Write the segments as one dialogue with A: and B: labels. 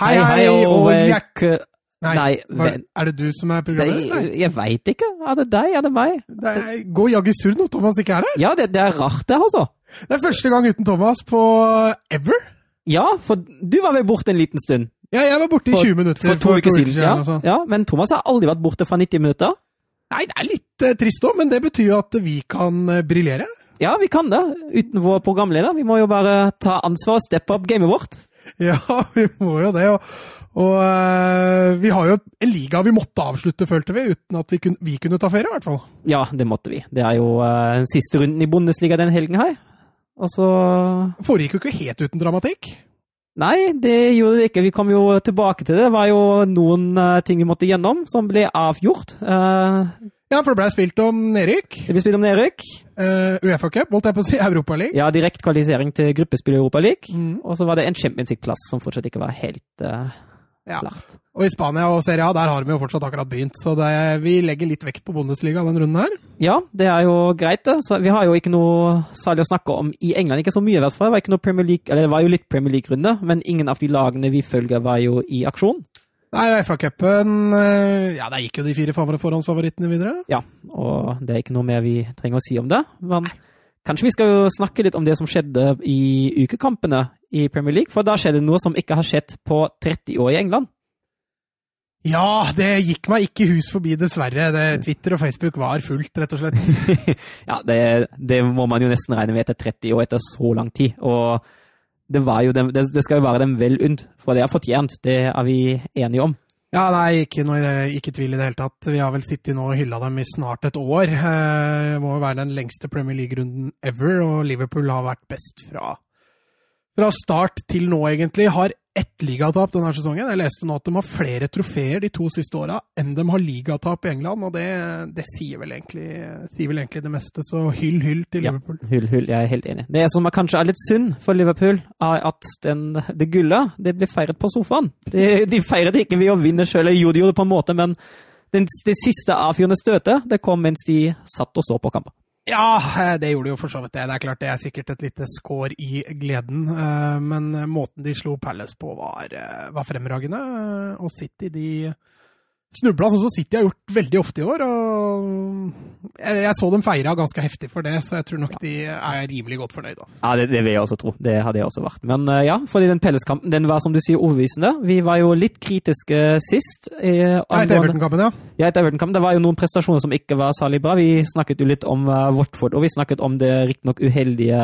A: Hei, hei, og hjert...
B: hjert...
A: Nei,
B: eh, Nei, eh,
A: hva-
B: vent.
A: er det du som er
B: Det,
A: programleder? Nei,
B: jeg veit ikke. Er det deg? Er det meg?
A: det er- Gå jaggu sur når Thomas ikke er her.
B: Ja, det, det er rart, det, altså.
A: Det er første gang uten Thomas på eh, ever.
B: Ja, for du var vel borte en liten stund
A: Ja, jeg var borte i
B: For-
A: 20 minutter
B: for to uker siden.
A: eller
B: Ja,
A: noe sånt.
B: ja, men Thomas har aldri vært borte fra 90 minutter.
A: Nei, det er litt eh, trist òg, men det betyr jo at vi kan eh, briljere.
B: Ja, vi kan det, uten vår programleder. Vi må jo bare ta ansvar og steppe opp gamet vårt.
A: Ja, vi må jo det. Og, og eh, vi har jo en liga vi måtte avslutte, følte vi, uten at vi kunne, vi kunne ta ferie, i hvert fall.
B: Ja, det måtte vi. Det er jo eh, siste runden i Bundesliga den helgen her. Og så
A: Foregikk jo ikke helt uten dramatikk.
B: Nei, det gjorde det ikke. Vi kom jo tilbake til det. Det var jo noen eh, ting vi måtte gjennom, som ble avgjort. Eh,
A: Ja, for det blei spilt om nedrykk.
B: det blir spilt om nedrykk.
A: eh, Uefa-cup, holdt jeg på å si. Europaliga.
B: Ja, direkte kvalifisering til gruppespill i Europa League.
A: Mm.
B: Og så var det en Champions League-plass som fortsatt ikke var helt eh,
A: Ja.
B: klart.
A: Og i Spania og Serie A, der har de jo fortsatt akkurat begynt, så det, vi legger litt vekt på Bundesliga denne runden her.
B: Ja, det er jo greit, det. Så vi har jo ikke noe særlig å snakke om i England. Ikke så mye, i hvert fall. Det var, ikke noe Premier League, eller det var jo litt Premier League-runde, men ingen av de lagene vi følger, var jo i aksjon.
A: Nei, Uefa-cupen eh, Ja, der gikk jo de fire forhåndsfavorittene videre.
B: Ja, og det er ikke noe mer vi trenger å si om det. Men kanskje vi skal jo snakke litt om det som skjedde i ukekampene i Premier League, for da skjedde noe som ikke har skjedd på 30 år i England.
A: Ja, det gikk meg ikke hus forbi, dessverre. Det, Twitter og Facebook var fullt, rett og slett.
B: Ja, det, det må man jo nesten regne med etter 30 år, etter så lang tid. Og det, var jo dem, det, det skal jo være dem vel unnt, for det er fortjent. Det er vi enige om.
A: Ja, nei, ikke, noe, i det- ikke tvil i det hele tatt. Vi har vel sittet nå og hylla dem i snart et år. Eh, Det må jo være den lengste Premier League-runden ever, og Liverpool har vært best fra, fra start til nå, egentlig. Har ett ligatap denne sesongen. Jeg leste nå at de har flere trofeer de to siste åra enn de har ligatap i England, og det, det sier, vel egentlig, sier vel egentlig det meste. Så hyll, hyll til
B: Ja.
A: Liverpool.
B: Hull, hull, jeg er helt enig. Det som er kanskje er litt synd for Liverpool, er at den, det gullet det ble feiret på sofaen. De, de feiret ikke ved å vinne sjøl, eller jo, de gjorde det på en måte, men den, det siste avfyrende støtet det kom mens de satt og så på kampen.
A: Ja, eh, det gjorde de jo for så vidt det. Det er klart det er sikkert et lite skår i gleden. eh, Men eh, måten de slo Palace på var, eh, var fremragende. eh, Og City de snubla, sånn som City har gjort veldig ofte i år. Og jeg jeg så dem feira ganske heftig for det, så jeg tror nok de er rimelig godt fornøyd. da.
B: Ja, det, det vil jeg også tro. Det hadde jeg også vært. Men eh, ja, fordi den pelleskampen den var som du sier overbevisende. Vi var jo litt kritiske sist. Eh,
A: Nei, til Everton-kampen, ja.
B: Ja, etter Everton-kampen. Det var jo noen prestasjoner som ikke var særlig bra. Vi snakket jo litt om eh, Watford, og vi snakket om det riktignok uheldige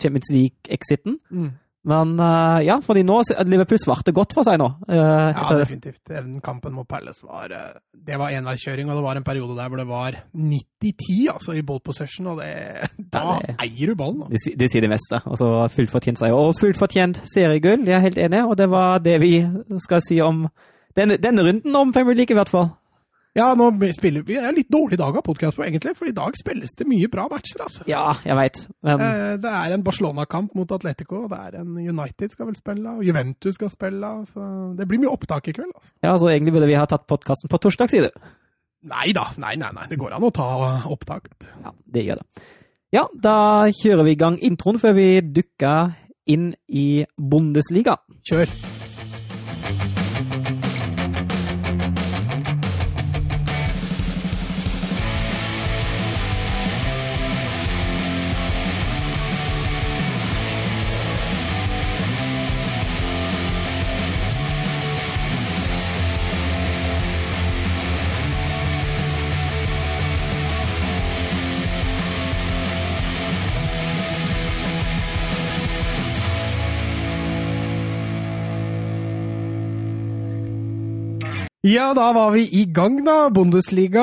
B: Champions League-exiten.
A: Mm.
B: Men eh, ja, fordi nå så- Liverpool svarte godt for seg nå. eh,
A: Ja,
B: etter-
A: definitivt. Den kampen mot Palace var eh, Det var enveiskjøring, og det var en periode der hvor det var 90-10 altså, i ball possession, og det, da
B: Ja, det-
A: eier du ballen. da.
B: de, si- de sier det meste. Altså fullt fortjent seier. Og fullt fortjent seriegull, jeg er helt enig, og det var det vi skal si om denne, denne runden om Premier League, i hvert fall.
A: Ja, nå spiller vi Det er litt dårlig dag av podkast på, egentlig, for i dag spilles det mye bra matcher, altså.
B: Ja, jeg veit. Men
A: Eh, Det er en Barcelona-kamp mot Atletico, og det er en United skal vel spille, og Juventus skal spille, så det blir mye opptak i kveld. Altså.
B: ja, så egentlig burde vi ha tatt podkasten på torsdag, sier du.
A: Nei da, nei, nei, nei, det går an å ta opptak. vet du.
B: Ja, det gjør det. Ja, da kjører vi i gang introen før vi dukker inn i Bundesliga.
A: Kjør! Ja, da var vi i gang, da. Bundesliga.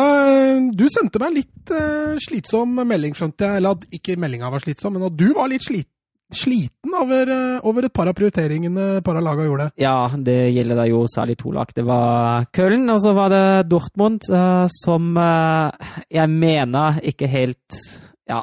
A: Du sendte meg en litt eh, slitsom melding, skjønte jeg. Eller at ikke meldinga var slitsom, men at du var litt slit sliten over, eh, over et par av prioriteringene para laga gjorde.
B: Ja, det gjelder da jo særlig to lag. Det var Köln, og så var det Dortmund, eh, som eh, jeg mener ikke helt Ja.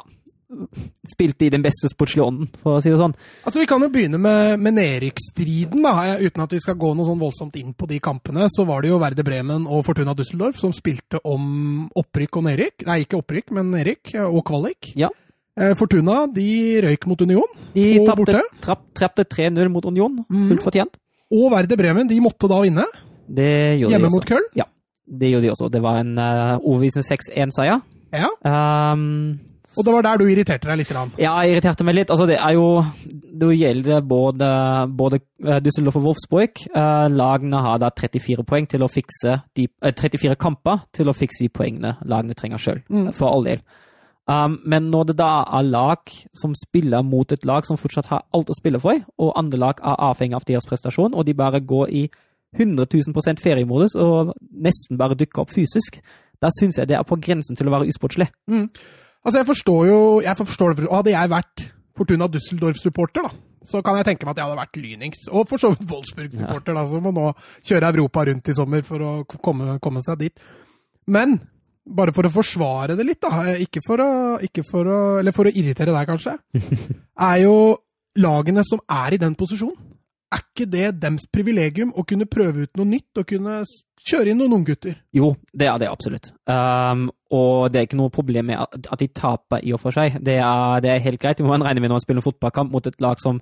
B: Spilte i den beste sportslige ånden, for å si det sånn.
A: Altså, Vi kan jo begynne med, med nedrykksstriden. da. Uten at vi skal gå noe sånn voldsomt inn på de kampene, så var det jo Verde Bremen og Fortuna Düsseldorf som spilte om opprykk og nedrykk. Nei, ikke opprykk, men nedrykk eh, og kvalik.
B: Ja.
A: Eh, Fortuna de røyk mot Union.
B: De
A: Og
B: tapte
A: borte?
B: trapp- tapte 3-0 mot Union,
A: Mm.
B: fullt fortjent.
A: og Verde Bremen de måtte da vinne,
B: Det gjorde
A: hjemme
B: de
A: mot
B: også.
A: Köln.
B: Det gjorde de også. Det var en uh, overbevisende 6-1-seier.
A: Ja,
B: Um,
A: og det var der du irriterte deg litt. Grann.
B: Ja, jeg irriterte meg litt. Altså, det er jo Det gjelder både, både eh, Düsseldorf og Wolfsburg. Eh, Lagene har da 34 poeng til å fikse de, eh, 34 kamper til å fikse de poengene lagene trenger sjøl,
A: Mm.
B: for all del. Um, men når det da er lag som spiller mot et lag som fortsatt har alt å spille for, og andre lag er avhengig av deres prestasjon, og de bare går i 100 000 feriemodus og nesten bare dukker opp fysisk, da syns jeg det er på grensen til å være usportslig.
A: Altså, jeg forstår jo jeg forstår det, og Hadde jeg vært Fortuna Düsseldorf-supporter, da, så kan jeg tenke meg at jeg hadde vært lynings. Og for så vidt Wolfsburg-supporter, da, som må nå kjøre Europa rundt i sommer for å k- komme, komme seg dit. Men bare for å forsvare det litt, da, ikke for å, ikke for å Eller for å irritere deg, kanskje, er jo lagene som er i den posisjonen. Er ikke det dems privilegium å kunne prøve ut noe nytt og kunne s- kjøre inn noen unggutter?
B: Jo, det er det absolutt. Ehm, og det er ikke noe problem med at at de taper i og for seg. Det er, det er helt greit. Det må man regne med når man spiller en fotballkamp mot et lag som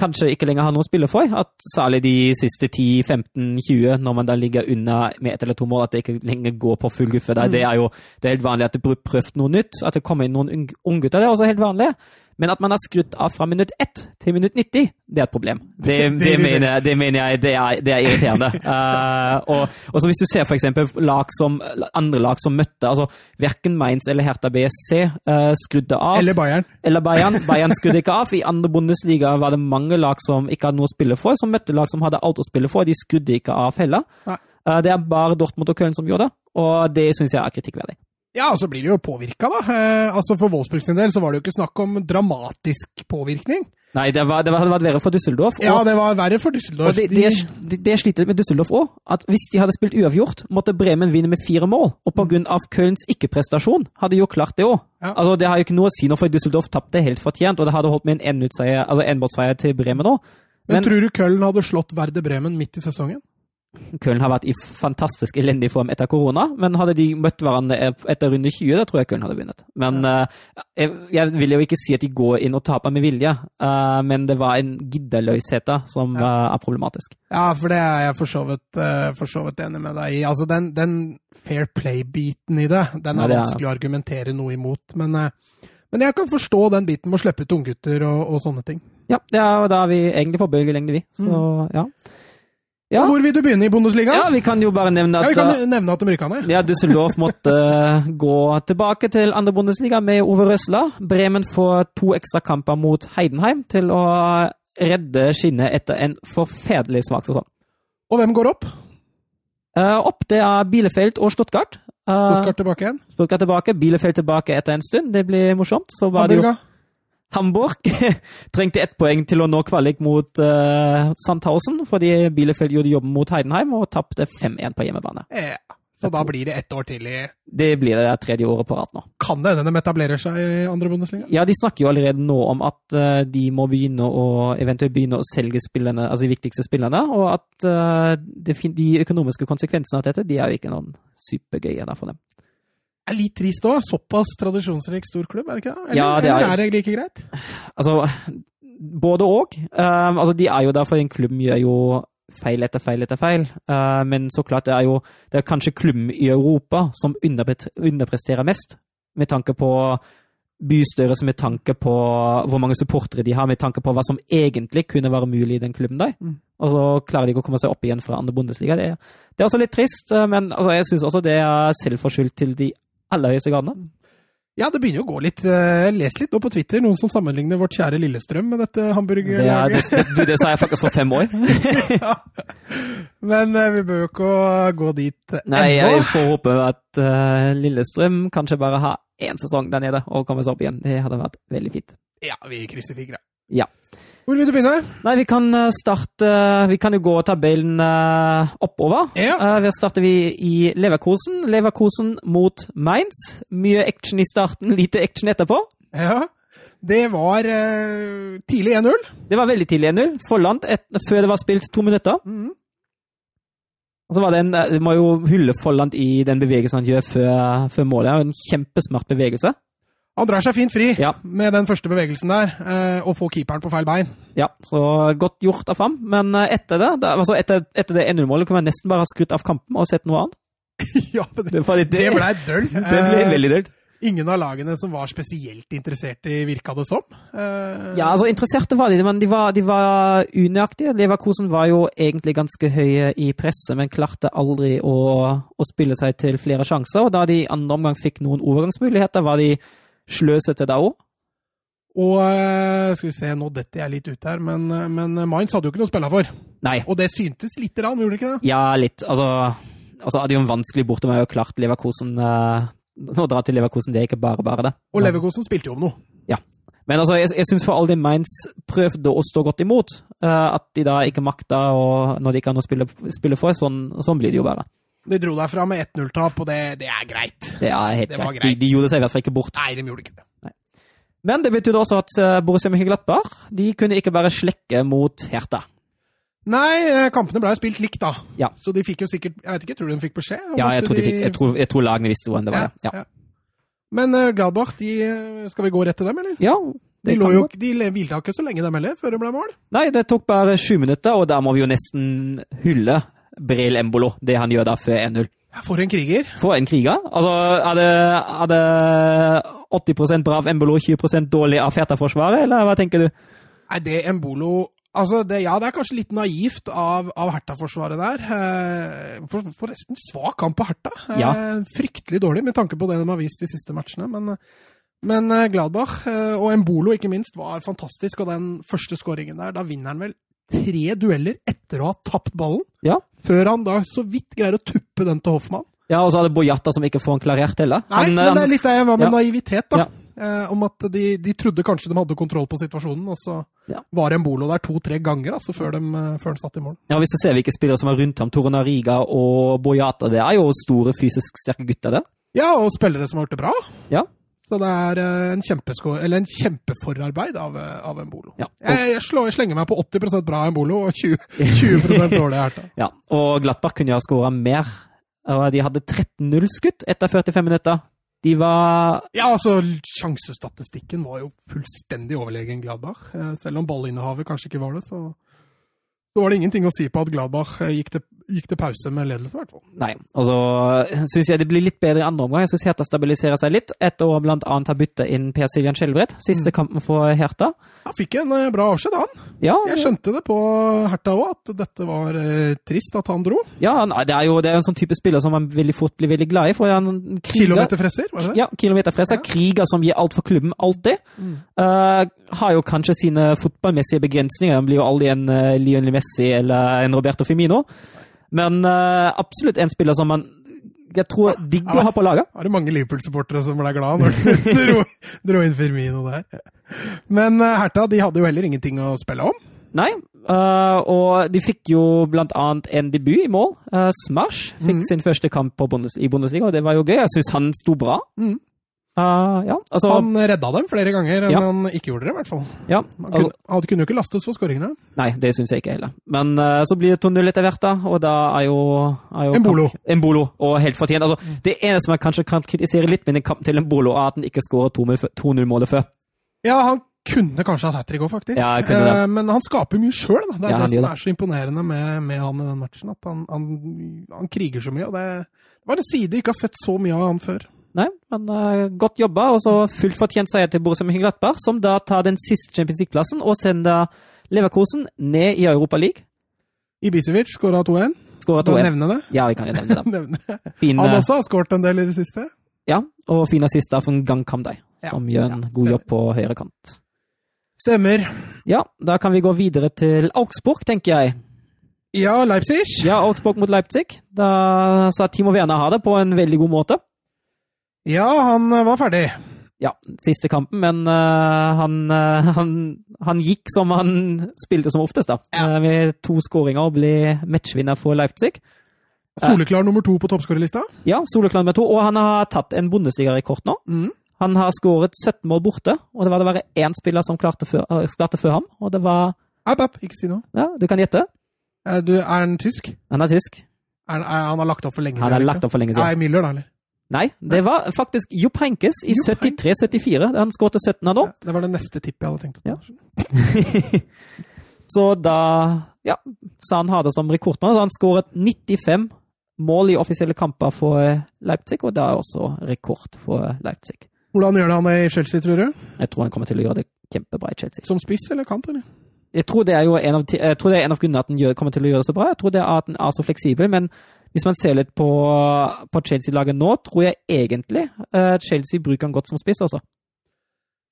B: kanskje ikke lenger har noe å spille for. At særlig de siste 10-15-20, når man da ligger unna med ett eller to mål, at det ikke lenger går på full guffe. der.
A: Mm.
B: Det er jo det er helt vanlig at det blir prøvd noe nytt. At det kommer inn noen ung- unggutter, det er også helt vanlig. Men at man har skrudd av fra minutt 1 til minutt 90, det er et problem. Det, det,
A: Det er
B: mener, jeg- det mener jeg det er, det er irriterende. Eh, og, og så hvis du ser for eksempel lag som, andre lag som møtte altså Verken Mainz eller Hertha BSC eh, skrudde av.
A: Eller Bayern?
B: Eller Bayern. Bayern skrudde ikke av. I andre Bundesliga var det mange lag som ikke hadde noe å spille for, som møtte lag som hadde alt å spille for. De skrudde ikke av heller.
A: Nei.
B: Eh, Det er bare Dortmund og Köln som gjorde det, og det syns jeg er kritikkverdig.
A: Ja, og så blir det jo påvirka, da. Eh, altså For Wolfsburg sin del så var det jo ikke snakk om dramatisk påvirkning.
B: Nei, det var, det var, det var verre for Düsseldorf.
A: Ja,
B: og,
A: det var verre for Düsseldorf.
B: og det, det, det, det sliter med Düsseldorf òg. At hvis de hadde spilt uavgjort, måtte Bremen vinne med fire mål. Og pga. Kölns ikke-prestasjon hadde de jo klart det òg.
A: Ja.
B: Altså, det har jo ikke noe å si nå, for Düsseldorf tapte helt fortjent, og det hadde holdt med en enminuttseier- altså enbåtseier til Bremen òg.
A: men,
B: men-
A: tror du Köln hadde slått Verde Bremen midt i sesongen?
B: Köln har vært i fantastisk elendig form etter korona, men hadde de møtt hverandre etter runde 20, da tror jeg Köln hadde vunnet. Men eh, jeg, jeg vil jo ikke si at de går inn og taper med vilje, eh, men det var en giddeløshet da, som eh, er problematisk.
A: Ja, for det er jeg for så vidt, eh, for så vidt enig med deg i. Altså, den, den fair play-biten i det, den
B: Ja,
A: er
B: det er-
A: vanskelig å argumentere noe imot. Men, eh, men jeg kan forstå den biten med å slippe ut unggutter og, og sånne ting.
B: Ja, ja, og da er vi egentlig på bølgelengde, vi. Så
A: Mm.
B: ja. Ja.
A: Hvor vil du begynne i Bundesliga?
B: ja, vi kan jo bare nevne
A: Ja,
B: at
A: Vi kan
B: eh,
A: jo nevne at de rykka ned.
B: ja, Düsseldorf måtte eh, gå tilbake til andre Bundesliga med Ove Røsla. Bremen får to ekstra kamper mot Heidenheim til å eh, redde skinnet etter en forferdelig svak sesong.
A: Og hvem går opp?
B: Eh, opp det er Bielefeld og Stuttgart. Eh,
A: Stuttgart tilbake igjen?
B: Stuttgart tilbake, Bielefeld tilbake etter en stund. Det blir morsomt. Så var det jo
A: Hamburga?
B: Hamburg. Trengte ett poeng til å nå kvalik mot eh, Sandhausen, fordi Bielefeld gjorde jobben mot Heidenheim og tapte 5-1 på hjemmebane.
A: Ja. Så da blir det ett år til i
B: Det blir det tredje året på rad nå.
A: Kan det hende de etablerer seg i andre Bundesliga?
B: Ja, de snakker jo allerede nå om at eh, de må begynne å eventuelt begynne å selge spillerne, altså de viktigste spillerne, og at eh, det fin de økonomiske konsekvensene av dette, de er jo ikke noen supergøye da for dem.
A: Det er litt trist òg. Såpass tradisjonsrik stor klubb, er det ikke det? Eller,
B: Ja, det er-
A: eller er det like greit?
B: Altså, både og. Ehm, altså, de er jo der, for en klubb gjør jo feil etter feil etter feil. Ehm, men så klart, det er jo det er kanskje klubben i Europa som underpre- underpresterer mest, med tanke på bystyrelse, med tanke på hvor mange supportere de har, med tanke på hva som egentlig kunne være mulig i den klubben der.
A: Mm.
B: Og så klarer de ikke å komme seg opp igjen fra andre Bundesliga. Det er, det er også litt trist, eh, men altså, jeg syns også det er selvforskyldt til de aller høyeste gradene.
A: Ja, det begynner jo å gå litt. eh, Jeg leser litt nå på Twitter, noen som sammenligner vårt kjære Lillestrøm med dette
B: Det, er, det,
A: hamburgerlaget.
B: du, det sa jeg faktisk for fem år.
A: Men eh, vi bør jo ikke gå dit eh,
B: Nei, jeg
A: ennå.
B: får håpe at eh, Lillestrøm kanskje bare har én sesong der nede og kommer seg opp igjen. Det hadde vært veldig fint.
A: Ja, vi krysser fingra.
B: Ja.
A: Hvor vil du begynne?
B: Nei, vi kan eh, starte Vi kan jo gå tabellen eh, oppover.
A: Ja.
B: Eh, Da starter vi i Leverkosen. Leverkosen mot Mainz. Mye action i starten, lite action etterpå.
A: ja. Det var eh, tidlig 1-0.
B: Det var veldig tidlig 1-0. Forland et, før det var spilt to minutter.
A: Mhm.
B: Og så var det en, eh, Vi må jo hylle Folland i den bevegelsen han gjør før, før målet. En kjempesmart bevegelse.
A: Han drar seg fint fri
B: Ja.
A: med den første bevegelsen der, eh, og får keeperen på feil bein.
B: Ja, så godt gjort av ham. Men eh, etter det, da, altså etter, etter det 1-0-målet kunne jeg nesten bare ha skrudd av kampen og sett noe annet.
A: ja, men det,
B: Det, var litt-
A: det blei døll.
B: det ble
A: Eh,
B: veldig dølt.
A: ingen av lagene som var spesielt interessert i, virka det som. Eh,
B: Ja, altså interesserte var de, men de var, de var unøyaktige. Leverkusen var jo egentlig ganske høye i presset, men klarte aldri å, å spille seg til flere sjanser. Og da de i andre omgang fikk noen overgangsmuligheter, var de sløsete da òg.
A: Og eh, skal vi se, nå detter jeg litt ut her, men, eh, men Mainz hadde jo ikke noe å spille for.
B: Nei.
A: Og det syntes lite grann, gjorde det ikke det?
B: Ja, litt. Altså, altså hadde jo en vanskelig borte, men jo klart Leverkusen eh, Å dra til Leverkusen, det er ikke bare bare, det.
A: Og Leverkosen spilte jo om noe.
B: Men altså, jeg, jeg syns for all del Mainz prøvde å stå godt imot. eh, at de da ikke makta, og når de ikke har noe å spille, spille for, sånn, sånn blir det jo bare.
A: De dro derfra med 1-0-tap, og det, det er greit.
B: Det er helt
A: Det var
B: greit. De,
A: greit.
B: de gjorde seg i hvert fall ikke bort.
A: Nei, de gjorde ikke det.
B: Men det betydde også at eh, Borussia Mönchenglattberg de kunne ikke bare slekke mot Hertha.
A: Nei, eh, kampene ble jo spilt likt, da.
B: Ja.
A: Så de fikk jo sikkert Jeg vet ikke, tror du de fikk beskjed? om
B: Ja, jeg
A: at
B: tror, de fikk, jeg tror, jeg tror lagene visste hvordan det var. Ja, ja.
A: ja. Men uh, Gladbach, de eh, Skal vi gå rett til dem, eller?
B: ja
A: De,
B: det
A: lå
B: kan
A: jo,
B: godt.
A: ikke- de le- hvilte ikke så lenge, dem heller, før det ble mål.
B: Nei, det tok bare sju minutter, og da må vi jo nesten hylle Bril Embolo, det han gjør da før 1-0.
A: For en kriger.
B: For en kriger. Altså, er det, er det 80 bra av Embolo, 20 dårlig av Feta-forsvaret, eller hva tenker du?
A: Nei, det Embolo Altså, det, ja, det er kanskje litt naivt av, av Herta-forsvaret der. Eh, For, forresten, svak kamp på Herta. Eh,
B: Ja.
A: Fryktelig dårlig, med tanke på det de har vist de siste matchene. Men, men eh, Gladbach eh, og Embolo, ikke minst, var fantastisk. Og den første skåringen der, da vinner han vel tre dueller etter å ha tapt ballen.
B: Ja.
A: Før han da så vidt greier å tuppe den til Hoffmann.
B: Ja, og så er det Bojatta som ikke får en klarert heller.
A: Nei,
B: Han,
A: men det
B: han-
A: er litt det jeg var med
B: eh, ja.
A: naivitet, da.
B: Ja.
A: Eh, om at de, de trodde kanskje de hadde kontroll på situasjonen, og så
B: Ja.
A: var Embolo der to-tre ganger altså, før, de, eh, før han satt i mål.
B: Ja, Hvis du ser hvilke spillere som er rundt ham, Tore Nariga og Boyata, det er jo store fysisk sterke gutter, det.
A: Ja, og spillere som har gjort det bra.
B: Ja.
A: Så det er eh, en, kjempesko- eller en kjempeforarbeid av, eh, av Embolo.
B: Ja, og,
A: Jeg, jeg, slår, jeg slenger meg på 80 bra Embolo og 20, 20 dårlig Herta.
B: ja, og Glattberg kunne jo ha skåra mer. Og De hadde 13-0 skudd etter 45 minutter. De var
A: Ja, altså, sjansestatistikken var jo fullstendig overlegen Gladbach. Eh, Selv om ballinnehavet kanskje ikke var det, så så var det ingenting å si på at Gladbach eh, gikk til, gikk til pause med ledelse, i hvert fall.
B: Nei, altså syns jeg det blir litt bedre i andre omgang. Jeg syns Hertha stabiliserer seg litt, etter å blant annet ha bytta inn Per Siljan Skjelbred. Siste
A: Mm.
B: kampen for Hertha.
A: Han fikk en eh, bra avskjed, han.
B: Ja,
A: Jeg skjønte det på Herta òg, at dette var eh, trist at han dro.
B: ja nei, det er jo det er jo en sånn type spiller som man veldig fort blir veldig glad i. For han er en kriger,
A: Kilometerfresser, var det det?
B: Ja, kilometerfreser. Kriger som gir alt for klubben, alltid.
A: Mm.
B: Eh, har jo kanskje sine fotballmessige begrensninger. Han blir jo aldri en eh, Lionel Messi eller en Roberto Firmino. Men eh, absolutt en spiller som man jeg tror digger å ha på laget.
A: Er det mange Liverpool-supportere som ble glad når du dro, dro inn Firmino der? Men eh, Herta de hadde jo heller ingenting å spille om.
B: Nei. eh, og de fikk jo blant annet en debut i mål. Eh, Smash fikk
A: Mhm.
B: sin første kamp på Bundes i Bundesliga, og det var jo gøy. Jeg syns han sto bra.
A: Mhm.
B: Eh, ja, altså,
A: Han redda dem flere ganger enn
B: Ja.
A: han ikke gjorde det, i hvert fall.
B: ja,
A: Han
B: altså
A: kunne, han kunne jo ikke lastes for skåringene.
B: Nei, det syns jeg ikke heller. Men eh, så blir det 2-0 etter hvert, da, og da er jo, er jo
A: Embolo.
B: kamp- Embolo, og helt fortjent. Altså,
A: Mhm.
B: det eneste man kanskje kan kritisere litt med den kampen til Embolo, er at han ikke skårer 2-0-målet før.
A: Ja, han kunne kanskje hatt hat trick òg, faktisk.
B: Ja, han kunne det.
A: Eh, men han skaper mye sjøl, da. Det er
B: Ja,
A: det
B: han
A: som
B: gjør det.
A: er så imponerende med, med han i den matchen. At han, han, han kriger så mye. Og det, det var en side jeg ikke har sett så mye av han før.
B: Nei, men eh, godt jobba, og så fullt fortjent seier til Borussia Mönchenglattberg, som da tar den siste Champions League-plassen og sender Leverkosen ned i Europa League.
A: Ibisevic skåra 2-1.
B: Skårer
A: Må
B: 2-1.
A: nevne det.
B: Ja, vi kan jo nevne det.
A: Nevne. det.
B: Fin,
A: Han
B: eh,
A: også har skåret en del i det siste.
B: ja, og fin assist av Gang Kamdai,
A: Ja.
B: som gjør en god jobb på høyre kant.
A: Stemmer.
B: Ja, da kan vi gå videre til Augsburg, tenker jeg.
A: Ja, Leipzig.
B: Ja, Augsburg mot Leipzig. Da sa Timo Werner ha det på en veldig god måte.
A: Ja, han eh, var ferdig.
B: Ja, siste kampen, men eh, han, eh, han, han gikk som han spilte som oftest, da.
A: Ja.
B: Eh, med to skåringer og ble matchvinner for Leipzig.
A: Soleklar nummer to på toppskårerlista.
B: Ja, soleklar med to, og han har tatt en bondesligarekord nå.
A: Mm.
B: Han har skåret 17 mål borte, og det var det bare én spiller som klarte før, eh, klarte før ham, og det var
A: App, app, ikke si noe.
B: Ja, du kan gjette.
A: Eh, Du, er han tysk?
B: Han er tysk.
A: Er, han- er, han har lagt opp for lenge
B: Han har
A: liksom?
B: lagt opp for lenge siden.
A: Nei, Müller, da, eller?
B: Nei, det var faktisk Jupp Henkes i
A: Jupp
B: 73-74. Han skåret 17 av dem.
A: Ja, det var det neste tippet jeg hadde tenkt å ta.
B: Oh. Ja. Så da ja, sa han ha det som rekordmann. Så han skåret 95 mål i offisielle kamper for eh, Leipzig, og det er også rekord for eh, Leipzig.
A: Hvordan gjør det han det i Chelsea, tror du?
B: Jeg tror han kommer til å gjøre det kjempebra i Chelsea.
A: Som spiss eller kant, eller?
B: Jeg tror det er jo en av, ti- jeg tror det er en av grunnene at han gjør, kommer til å gjøre det så bra. Jeg tror det er at han er så fleksibel, men hvis man ser litt på, på Chelsea-laget nå, tror jeg egentlig eh, Chelsea bruker han godt som spiss, altså.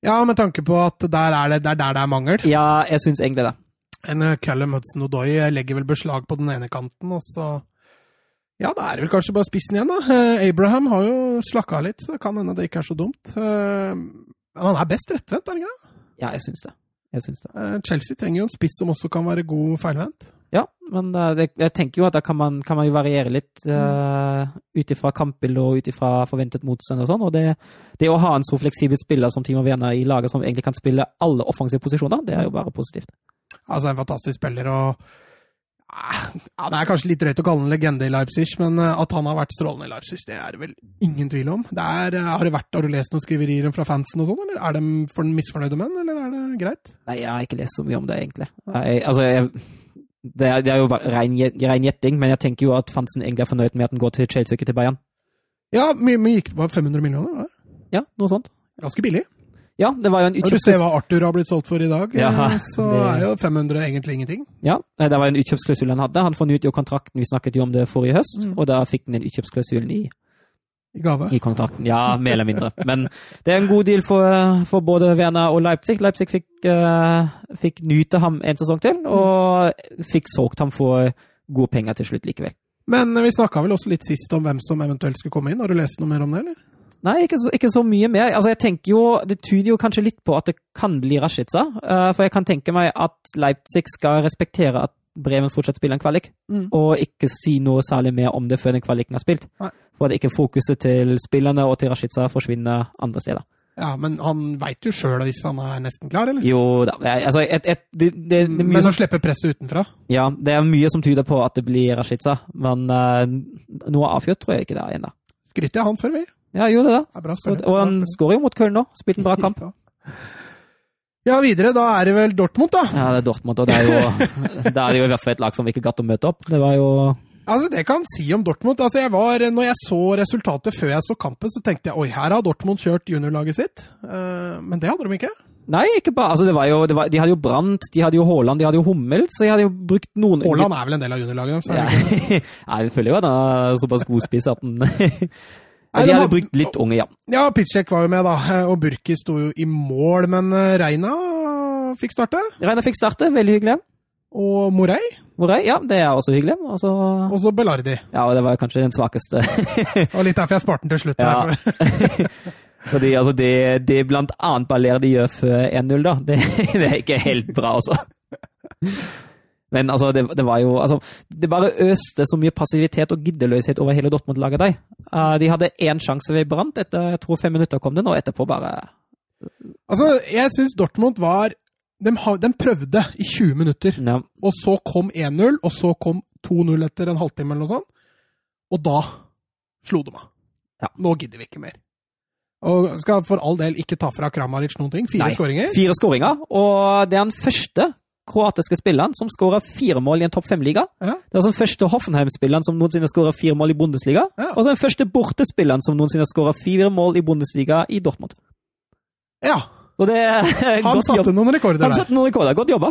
A: Ja, med tanke på at der er det, det er der det er mangel.
B: Ja, jeg syns egentlig det.
A: En eh, Callum Hudson-Odoi legger vel beslag på den ene kanten, og så Ja, da er det vel kanskje bare spissen igjen, da. Eh, Abraham har jo slakka av litt, så det kan hende det ikke er så dumt. Eh, Men han er best rettvendt, er han ikke det?
B: Ja, jeg syns det. Jeg syns det.
A: Eh, Chelsea trenger jo en spiss som også kan være god feilvendt.
B: Ja, men eh, det, jeg tenker jo at da kan man, kan man jo variere litt uh, ut ifra kampbildet og ut ifra forventet motstand og sånn. Og det, det å ha en så fleksibel spiller som Timo Werner i laget, som egentlig kan spille alle offensive posisjoner, det er jo bare positivt.
A: Altså en fantastisk spiller og ah, ja, Det er kanskje litt drøyt å kalle han legende i Leipzig, men eh, at han har vært strålende i Leipzig, det er det vel ingen tvil om. Det er, eh, har, det vært, har du lest noen skriverier fra fansen og sånn, eller er de for misfornøyde menn, eller er det greit?
B: Nei, jeg har ikke lest så mye om det, egentlig. Jeg, altså, jeg, det, er, det er jo bare rein gjet- rein gjetting, men jeg tenker jo at Fansen egentlig er fornøyd med at den går til Chelsea, ikke til Bayern.
A: Ja, vi, vi gikk på 500 millioner, var det?
B: Ja, noe sånt.
A: Ganske billig.
B: Ja, det var jo en
A: Når du ser
B: utkjøpsklausul.
A: hva Arthur har blitt solgt for i dag, eh,
B: Ja,
A: så
B: det-
A: er jo 500 egentlig ingenting.
B: Ja, nei, det var en utkjøpsklausul han hadde. Han fornyet jo kontrakten, vi snakket jo om det forrige høst,
A: Mm.
B: og da fikk han den utkjøpsklausulen i
A: I gave.
B: I kontrakten, ja, mer eller mindre. Men det er en god deal for, for både Werner og Leipzig. Leipzig fikk, eh, fikk nyte ham en sesong til, og fikk solgt ham for gode penger til slutt likevel.
A: Men eh, vi snakka vel også litt sist om hvem som eventuelt skulle komme inn. Har du lest noe mer om det, eller?
B: Nei, ikke så, ikke så mye mer. Altså, jeg tenker jo, Det tyder jo kanskje litt på at det kan bli Rashica. eh, for jeg kan tenke meg at Leipzig skal respektere at Bremen fortsatt spiller en kvalik,
A: Mm.
B: og ikke si noe særlig mer om det før den kvaliken er spilt.
A: Nei.
B: For at ikke fokuset til spillerne og til Rashica forsvinner andre steder.
A: Ja, men han veit jo sjøl hvis han er nesten klar, eller?
B: Jo da, jeg- altså et, et, det, det, det, er mye
A: Men
B: som-
A: å slippe presset utenfra?
B: Ja, det er mye som tyder på at det blir Rashica, men eh, noe avgjort tror jeg ikke det er ennå.
A: Skryter jeg av han før, vi.
B: Ja, jeg gjorde det.
A: Ja, bra
B: Så,
A: spiller.
B: og
A: Bra
B: han
A: spiller.
B: skårer jo mot Köln nå. Spilte en bra kamp.
A: Ja, videre. Da er det vel Dortmund, da.
B: Ja, det er Dortmund, og det er jo, det er jo i hvert fall et lag som ikke gatt å møte opp. Det var jo
A: Altså, Det kan si om Dortmund. Altså, jeg var, Når jeg så resultatet før jeg så kampen, så tenkte jeg oi, her har Dortmund kjørt juniorlaget sitt. Eh, men det hadde de ikke.
B: Nei, ikke bare altså, det var jo, det var, De hadde jo Brandt, de hadde jo Haaland, de hadde jo Hummel, så jeg hadde jo brukt noen
A: Haaland altså. er vel en del av juniorlaget deres?
B: Ja.
A: er det ikke?
B: Nei, vi føler jo at han er såpass god spiss at han
A: Nei,
B: De
A: det var-
B: hadde brukt litt unge, ja.
A: Ja, Pitchek var jo med, da. Eh, Og Burki sto jo i mål, men eh, Reina fikk starte.
B: Reiner fikk starte, veldig hyggelig.
A: Og Morey.
B: Morey, ja, det er også hyggelig. Og så,
A: Og så Bellardi.
B: ja, og det var jo kanskje den svakeste
A: Og litt derfor jeg sparte den til slutt.
B: Ja.
A: der.
B: Fordi altså, det, det er blant annet Baller de gjør før 1-0, da. Det, det er ikke helt bra, altså. Men altså, det, det var jo altså, Det bare øste så mye passivitet og giddeløshet over hele Dortmund-laget der. Eh, de hadde én sjanse ved Brandt. Etter jeg tror fem minutter kom den, og etterpå bare
A: Altså, Jeg syns Dortmund var de, ha- de prøvde i 20 minutter.
B: ja,
A: Og så kom 1-0, og så kom 2-0 etter en halvtime eller noe sånt. Og da slo de av.
B: Ja.
A: Nå gidder vi ikke mer. Og skal for all del ikke ta fra Kramaric noen ting. Fire
B: Nei.
A: skåringer.
B: Fire skåringer, og det er den første kroatiske spilleren som skårer fire mål i en topp fem-liga.
A: Ja.
B: Det er altså den første Hoffenheim-spilleren som noensinne skårer fire mål i Bundesliga.
A: Ja.
B: Og så den første bortespilleren som noensinne skårer fire mål i Bundesliga i Dortmund.
A: Ja,
B: Og det er
A: Han
B: Eh, godt
A: satte
B: jobb.
A: noen rekorder
B: Han
A: der.
B: satte noen rekorder. Godt jobba.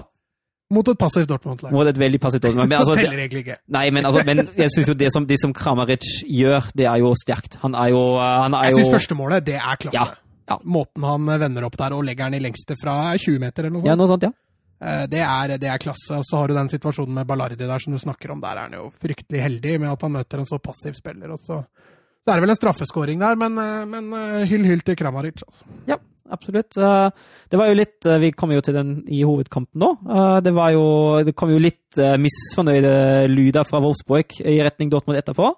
A: Mot et passivt Dortmund-lag.
B: Mot et veldig passivt Dortmund. Men, altså,
A: det
B: det,
A: teller egentlig ikke.
B: nei, men, altså, men jeg syns jo det som, det som Kramaric gjør, det er jo sterkt. Han er jo, eh, han er
A: Jeg
B: jo
A: syns første målet, det er klasse.
B: Ja, ja.
A: Måten han vender opp der og legger den i lengste fra 20 meter eller noe
B: Ja,
A: sånt,
B: noe sånt, ja.
A: Eh, det, er, det er klasse. Og så har du den situasjonen med Ballardi der som du snakker om. Der er han jo fryktelig heldig med at han møter en så passiv spiller. Og så det er vel en straffeskåring der, men, eh, men eh, hyll hyll til Kramaric. Altså.
B: Ja, absolutt. Eh, Det var jo litt eh, Vi kommer jo til den i hovedkampen nå. Eh, Det var jo Det kom jo litt eh, misfornøyde lyder fra Wolfsburg i retning Dortmund etterpå.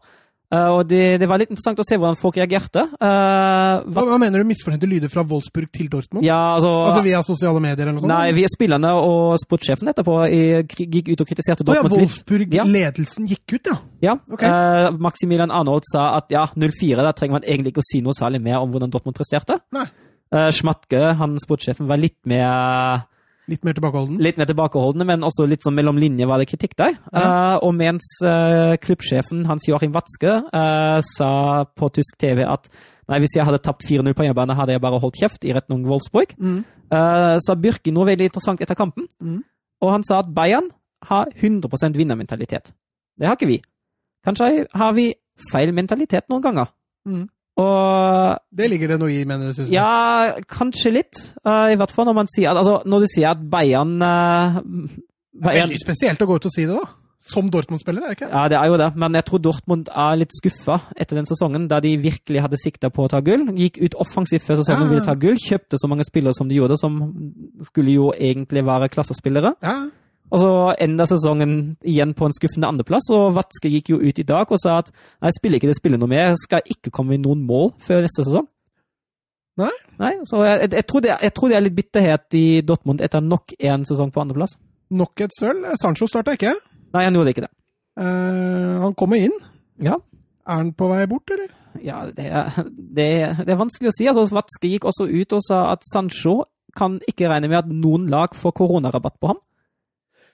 B: Eh, og det, det var litt interessant å se hvordan folk reagerte. Eh,
A: Hva,
B: hva,
A: hva mener du misfornøyde lyder fra Wolfsburg til Dortmund?
B: ja, altså,
A: Altså via sosiale medier eller noe sånt?
B: Nei, vi spillerne og sportssjefen etterpå eh, kri- gikk ut og kritiserte
A: Å ja,
B: Dortmund litt. Ja.
A: Wolfsburg-ledelsen gikk ut, ja.
B: Ja.
A: Ok.
B: eh, Maximilian Arnold sa at ja, 0-4, der trenger man egentlig ikke å si noe særlig mer om hvordan Dortmund presterte.
A: Nei.
B: Eh, Schmatke, han sportssjefen, var litt mer,
A: Litt mer tilbakeholden.
B: litt mer tilbakeholdende, men også litt sånn mellom linjer var det kritikk der. Eh, og mens eh, klubbsjefen, Hans Joachim Watzke, eh, sa på tysk TV at nei, hvis jeg hadde tapt 4-0 på hjemmebane, hadde jeg bare holdt kjeft i retning Wolfsburg,
A: Mm.
B: eh, sa Byrke noe veldig interessant etter kampen.
A: Mhm.
B: Og han sa at Bayern har 100 vinnermentalitet. Det har ikke vi. Kanskje har vi feil mentalitet noen ganger.
A: Mm.
B: Og
A: Det ligger det noe i, mener du? synes jeg.
B: ja, kanskje litt. Eh, I hvert fall når man sier at altså, Når du sier at Bayern eh,
A: Det er
B: Bayern
A: veldig spesielt å gå ut og si det, da. Som Dortmund-spiller, er det ikke?
B: ja, det er jo det, men jeg tror Dortmund er litt skuffa etter den sesongen, da de virkelig hadde sikta på å ta gull. Gikk ut offensivt før sesongen
A: Ja.
B: ville ta gull, kjøpte så mange spillere som de gjorde, som skulle jo egentlig være klassespillere.
A: Ja.
B: Og så enda sesongen igjen på en skuffende andreplass, og Vatske gikk jo ut i dag og sa at nei, jeg spiller ikke det spillet noe mer, jeg skal ikke komme i noen mål før neste sesong.
A: Nei.
B: Nei, Så jeg, jeg, tror, det, jeg tror det er litt bitterhet i Dortmund etter nok en sesong på andreplass.
A: Nok et sølv. Sancho starta ikke.
B: Nei, han gjorde ikke det.
A: Eh, han kommer inn.
B: Ja.
A: Er han på vei bort, eller?
B: Ja, det er, det, er- det er vanskelig å si. Altså, Vatske gikk også ut og sa at Sancho kan ikke regne med at noen lag får koronarabatt på ham.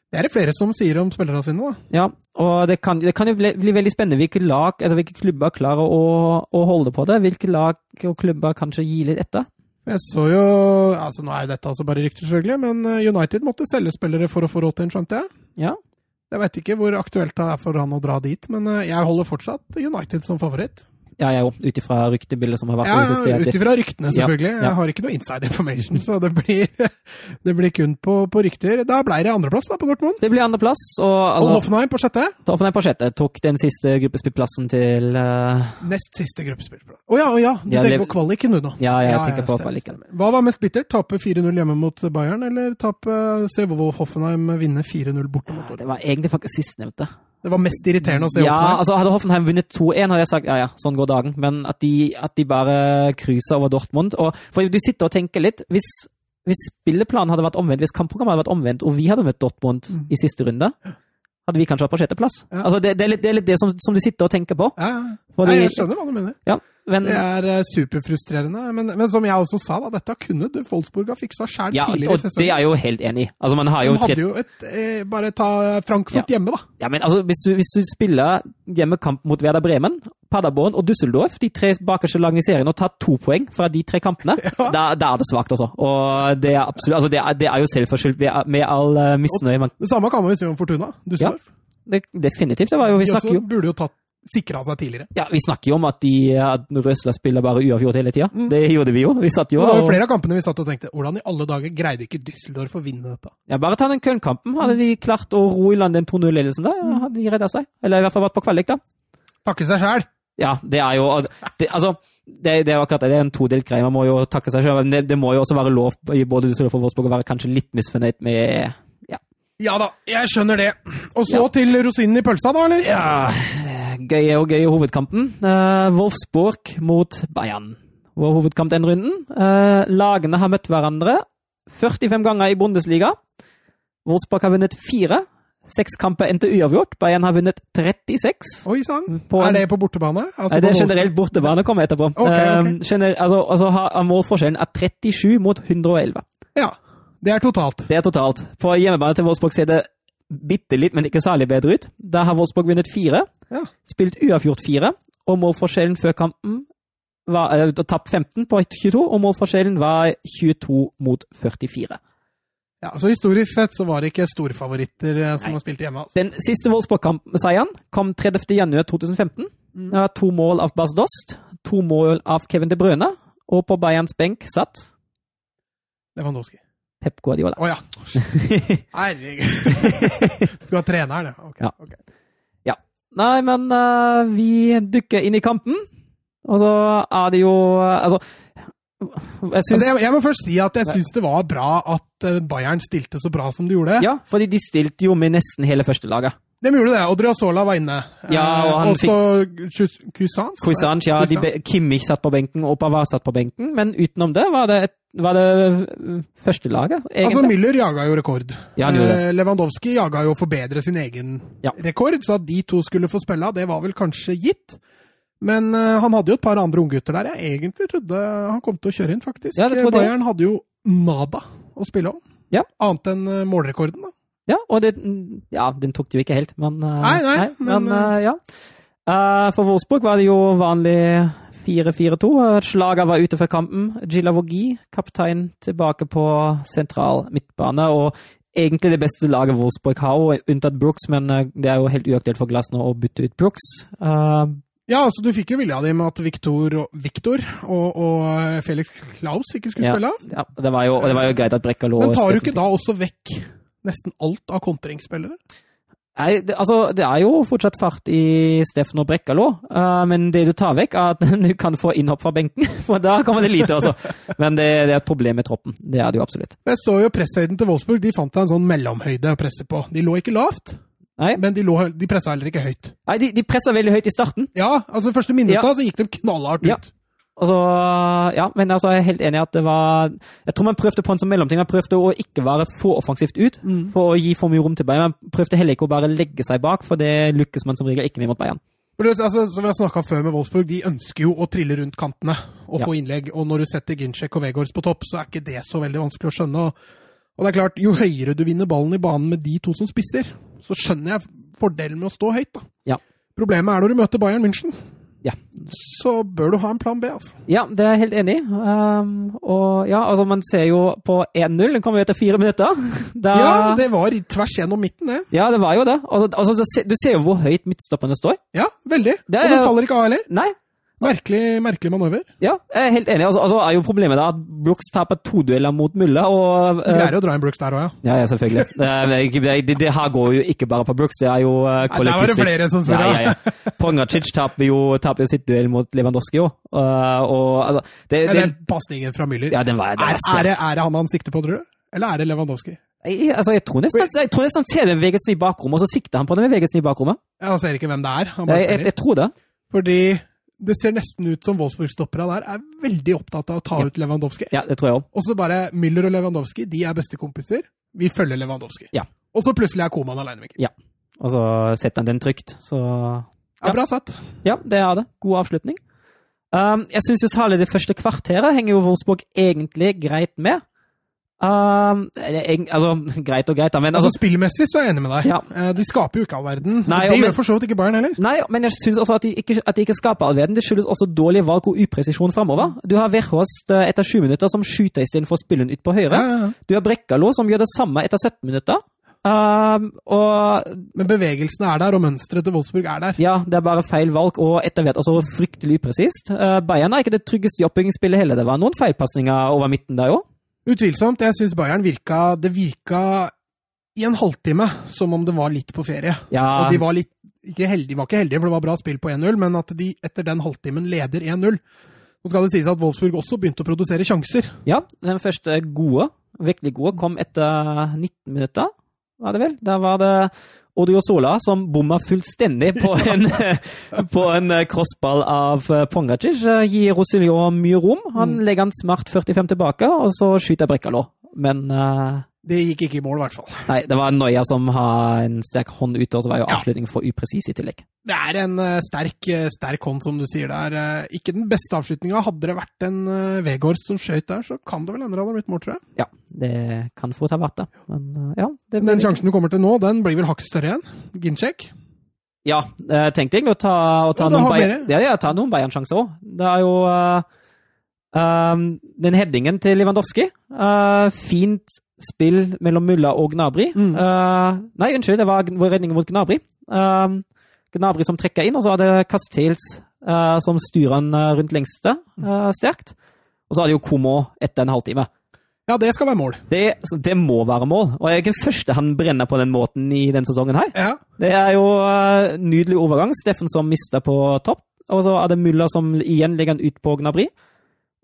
A: Det er det flere som sier om spillerne sine, da.
B: Ja, og det kan, det kan jo bli, bli veldig spennende hvilke lag, altså hvilke klubber klarer å, å holde på det. Hvilke lag og klubber kanskje gir litt etter.
A: Jeg så jo altså Nå er jo dette altså bare rykter, selvfølgelig, men eh, United måtte selge spillere for å få råd til en, skjønte jeg.
B: Ja.
A: Jeg veit ikke hvor aktuelt det er for han å dra dit, men eh, jeg holder fortsatt United som favoritt.
B: Ja, jeg òg, ut ifra ryktebildet som har vært
A: Ja,
B: i det siste.
A: ut
B: jeg-
A: ifra ryktene,
B: Ja,
A: selvfølgelig.
B: ja.
A: Jeg har ikke noe inside information, så det blir, det blir kun på, på rykter. Da blei det andreplass da, på Dortmund.
B: Det blir andreplass, og
A: Og
B: altså,
A: Hoffenheim på sjette.
B: Hoffenheim på sjette tok den siste gruppespillplassen til eh,
A: Nest siste gruppespillsplan. Å ja, å ja, du
B: Ja,
A: tenker
B: Lev-
A: på kvaliken du nå.
B: Ja, jeg tenker på
A: stemmer,
B: kvaliken.
A: stemmer. Hva var mest bittert? Tape 4-0 hjemme mot Bayern, eller tape eh, se hvor Hoffenheim vinne 4-0 borte mot Dortmund?
B: Det var egentlig faktisk sistnevnte.
A: Det var mest irriterende å se
B: Ja,
A: Hoffenheim.
B: altså Hadde Hoffenheim vunnet 2-1, hadde jeg sagt ja, ja, sånn går dagen. Men at de, at de bare cruiser over Dortmund og, For du sitter og tenker litt Hvis, hvis spilleplanen hadde vært omvendt, hvis kampprogrammet hadde vært omvendt, og vi hadde møtt Dortmund
A: Mm.
B: i siste runde, hadde vi kanskje vært på sjetteplass.
A: Ja.
B: Altså, det, det, er litt, det er litt det som, som du sitter og tenker på.
A: Ja,
B: Fordi,
A: Nei, jeg skjønner hva du mener.
B: ja, men,
A: Det er eh, superfrustrerende. Men, men som jeg også sa, da, dette kunne du- Wolfsburg ha fiksa sjæl
B: ja,
A: tidligere i
B: og det
A: sesongen.
B: er jeg jo helt enig i. Altså, man har jo
A: De
B: tre
A: hadde jo et eh, Bare ta Frankfurt hjemme, da.
B: Ja, men altså, hvis du, hvis du spiller hjemmekamp mot Werder Bremen, Paderborn og Düsseldorf, de tre bakerste lagene i serien, og tar to poeng fra de tre kampene, da, da er det svakt, altså. Og det er absolutt Altså, det er, det er jo selvforskyldt med, med all eh, misnøye. Men
A: Det samme kan man jo si om Fortuna. Düsseldorf.
B: det, definitivt. Det var jo, vi,
A: De også
B: snakker jo,
A: burde jo tatt sikra seg tidligere.
B: ja, vi snakker jo om at, de, at Røsla spiller bare uavgjort hele tida. Det gjorde vi jo. Vi satt jo
A: Mm. Det var jo
B: og
A: flere av kampene vi satt og tenkte hvordan i alle dager greide ikke Düsseldorf å vinne dette?
B: ja, Bare ta den Köln-kampen. Hadde de klart å ro i land den 2-0-ledelsen der, hadde de redda seg. Eller i hvert fall vært på kvalik, da.
A: Takke seg sjæl!
B: Ja, det er jo det, Altså, det, det er jo akkurat det. Det er en todelt greie. Man må jo takke seg sjøl. Men det, det må jo også være lov i både Düsseldorf og Wolfsburg å være kanskje litt misfornøyd med ja,
A: Ja da, jeg skjønner det. Og så
B: Ja.
A: til rosinen i pølsa, da, eller?
B: ja Gøye og gøye hovedkampen. Eh, Wolfsburg mot Bayern. Vår hovedkamp den runden. Eh, lagene har møtt hverandre 45 ganger i Bundesliga. Wolfsburg har vunnet fire. Seks kamper endte uavgjort. Bayern har vunnet 36.
A: Oi sann!
B: På en-
A: Er det på bortebane? Altså,
B: Nei, det er
A: på
B: generelt bortebane kommer etterpå.
A: Ok, ok.
B: Um, gener altså, altså har har målforskjellen er 37 mot 111.
A: Wolfs- Ja. Det er totalt.
B: Det er totalt. På hjemmebane til Wolfsburg ser det bitte litt, men ikke særlig bedre ut. Da har Wolfsburg vunnet fire,
A: Ja.
B: spilt uavgjort fire, og målforskjellen før kampen var eh, tapt 15 på 22, og målforskjellen var 22 mot 44.
A: ja. Så historisk sett så var det ikke storfavoritter eh, som
B: Nei.
A: har spilt hjemme. Altså.
B: Den siste Wolfsburg-seieren kom 30. januar 2015.
A: Mm.
B: Det var to mål av Bas Dost, to mål av Kevin De Bruyne, og på Bayerns benk satt
A: Lewandowski.
B: Pep Guardiola.
A: Å ja. Herregud. Skulle ha treneren, ja. Ok,
B: Ja.
A: ok.
B: Nei, men eh, vi dykker inn i kampen, og så er det jo eh, Altså, jeg syns
A: Altså, jeg, jeg må først si at jeg syns det var bra at eh, Bayern stilte så bra som de gjorde.
B: Ja, fordi de stilte jo med nesten hele førstelaget.
A: De gjorde det. Odriozola var inne. Eh,
B: Ja, og han
A: Også Kusans.
B: Kuisans, ja, de be- Kimmich satt på benken, og Pavard satt på benken, men utenom det var det, et, var det øh, førstelaget,
A: Altså,
B: egentlig.
A: Müller jaga jo rekord.
B: Ja, han gjorde det.
A: Eh, Lewandowski jaga jo å forbedre sin egen
B: Ja.
A: rekord, så at de to skulle få spille, det var vel kanskje gitt. Men eh, han hadde jo et par andre unggutter der jeg egentlig trodde han kom til å kjøre inn, faktisk.
B: Ja, det trodde jeg.
A: Bayern hadde jo nada å spille om.
B: Ja.
A: Annet enn eh, målrekorden, da.
B: Ja, og det, ja, den tok de jo ikke helt, men øh,
A: Nei, nei, men,
B: men, øh, ja. Eh, for Wolfsburg var det jo vanlig 4-4-2. eh, Slager var ute før kampen. Gilavogi, kaptein, tilbake på sentral midtbane. Og egentlig det beste laget Wolfsburg har, og unntatt Brooks, men eh, det er jo helt uaktuelt for Glass nå å bytte ut Brooks. Eh,
A: Ja, altså du fikk jo vilja di med at Victor og, Victor og, og eh, Felix Klaus ikke skulle spille.
B: Ja, det var jo, og det var jo greit at Brekka lå
A: Men tar du ikke da også vekk nesten alt av kontringsspillere?
B: Nei, det, altså, det er jo fortsatt fart i Steffen og Brekkalo, eh, men det du tar vekk, er at du kan få innhopp fra benken. For da kommer det lite, altså. Men det, det er et problem med troppen. Det er det jo absolutt.
A: Jeg så jo presshøyden til Wolfsburg. De fant seg en sånn mellomhøyde å presse på. De lå ikke lavt,
B: Nei,
A: men de, lå, de pressa heller ikke høyt.
B: Nei de, de presser veldig høyt i starten.
A: Ja, altså første minutta
B: Ja.
A: så gikk de knallhardt ut.
B: Ja. Altså, ja, men altså, jeg er helt enig i at det var Jeg tror man prøvde på en sånn mellomting. Man prøvde å ikke være for offensivt ut
A: Mm.
B: for å gi for mye rom til Bayern. Man prøvde heller ikke å bare legge seg bak, for det lykkes man som regel ikke med mot Bayern.
A: For det, altså, som vi har snakka før med Wolfsburg, de ønsker jo å trille rundt kantene og
B: Ja.
A: få innlegg. Og når du setter Ginchek og Vegårs på topp, så er ikke det så veldig vanskelig å skjønne. Og, og det er klart, jo høyere du vinner ballen i banen med de to som spisser, så skjønner jeg fordelen med å stå høyt, da.
B: Ja.
A: Problemet er når du møter Bayern München.
B: Ja.
A: Så bør du ha en plan B, altså.
B: Ja, det er jeg helt enig i. Um, og ja, altså, man ser jo på 1-0. Den kom jo etter fire minutter. Da,
A: Ja, det var i- tvers gjennom midten, det.
B: Ja, det var jo det. Altså, altså, du ser- du ser jo hvor høyt midtstopperne står.
A: Ja, veldig.
B: Det er
A: og den
B: jo-
A: faller ikke av heller.
B: Nei,
A: Merkelig, merkelig manøver.
B: ja, jeg er helt enig. Altså, altså er jo problemet da at Brooks taper to dueller mot Mulla, og
A: Du
B: eh,
A: greier å dra inn Brooks der òg, ja.
B: Ja, ja, selvfølgelig. Eh, men ikke- Det, det, det her går jo ikke bare på Brooks, det er jo uh,
A: Nei, der var det
B: kollektivsvikt.
A: flere som
B: Ja,
A: surra.
B: ja, ja. Pongracic taper jo, taper jo sitt duell mot Lewandowski òg, og altså det,
A: Men
B: det,
A: Den pasningen fra Müller
B: Ja, den var, den
A: er,
B: var sterk.
A: er, det, er det han han sikter på, tror du? Eller er det Lewandowski?
B: Jeg, altså, jeg tror nesten jeg tror nesten han ser den vegelsen i bakrommet, og så sikter han på den med vegelsen i bakrommet.
A: Jeg ser ikke hvem det er. Han bare
B: Jeg, jeg,
A: spiller.
B: jeg tror det.
A: Fordi det ser nesten ut som Wolfsburg-stoppera der er veldig opptatt av å ta
B: Ja.
A: ut Lewandowski.
B: Ja, det tror jeg òg.
A: Og så bare Müller og Lewandowski, de er bestekompiser. Vi følger Lewandowski.
B: Ja.
A: Og så plutselig er Koman aleine, Mikkel.
B: Og så Altså, setter han den trygt, så
A: Ja,
B: Ja.
A: bra satt.
B: Ja, det er det. God avslutning. Um, jeg syns jo særlig det første kvarteret henger jo Wolfsburg egentlig greit med. Um, det er egen- altså, greit og greit, da, men
A: Altså,
B: altså
A: Spillmessig så er jeg enig med deg.
B: Ja.
A: Eh, De skaper jo ikke all verden.
B: Nei,
A: det
B: og men-
A: gjør for så vidt ikke Bayern heller.
B: Nei, men jeg syns også at de ikke, at de ikke skaper all verden. Det skyldes også dårlig valg og upresisjon framover. Du har Verhorst eh, etter sju minutter som skyter istedenfor å spille den ut på høyre.
A: Ja, ja, ja.
B: Du har Brekkalo som gjør det samme etter 17 minutter. Um, og
A: Men bevegelsene er der, og mønsteret til Wolfsburg er der.
B: Ja, det er bare feil valg, og etter hvert også fryktelig upresist. Eh, Bayern er ikke det tryggeste i oppbyggingsspillet heller. Det var noen feilpasninger over midten der òg.
A: Utvilsomt. Jeg syns Bayern virka Det virka i en halvtime som om det var litt på ferie.
B: Ja,
A: Og de var litt ikke heldige, de var ikke heldige, for det var bra spill på 1-0, men at de etter den halvtimen leder 1-0. Nå skal det sies at Wolfsburg også begynte å produsere sjanser.
B: ja, den første gode, virkelig gode, kom etter 19 minutter, var det vel? Der var det Odio Sola som bomma fullstendig på en, på en eh, crossball av eh, Pongacic. Eh, Gir Rosilion mye rom.
A: Mm.
B: Han legger han smart 45 tilbake, og så skyter Brekkalo. Men eh,
A: Det gikk ikke i mål, i hvert fall.
B: nei, det var Noya som har en sterk hånd ute, og så var jo
A: Ja.
B: avslutningen for upresis i tillegg.
A: Det er en eh, sterk, eh, sterk hånd, som du sier der. Eh, Ikke den beste avslutninga. Hadde det vært en eh, Vegårs som skøyt der, så kan det vel hende det hadde blitt mål, tror jeg.
B: Ja, det kan fort ha vært det. Men uh, ja, det
A: Den sjansen du kommer til nå, den blir vel hakk større igjen. Ginchek.
B: Ja, jeg tenkte egentlig å ta, å ta
A: Ja, da
B: noen,
A: har
B: Bayern- ja, ja, ta noen Bayern-sjanser òg. Det er jo uh, um, den headingen til Lewandowski. Uh, fint spill mellom Mulla og Gnabry.
A: Mm.
B: Uh, nei, unnskyld, det var vår redning mot Gnabry. Um, Gnabry som trekker inn, og så er det Castells uh, som styrer han uh, rundt lengste
A: Mm.
B: uh, sterkt. Og så er det jo Komo etter en halvtime.
A: Ja, det skal være mål.
B: Det, det må være mål. Og jeg er ikke den første han brenner på den måten i denne sesongen her.
A: Ja.
B: Det er jo eh, nydelig overgang. Steffen som mister på topp. Og så er det Mulla som igjen legger han ut på Gnabry.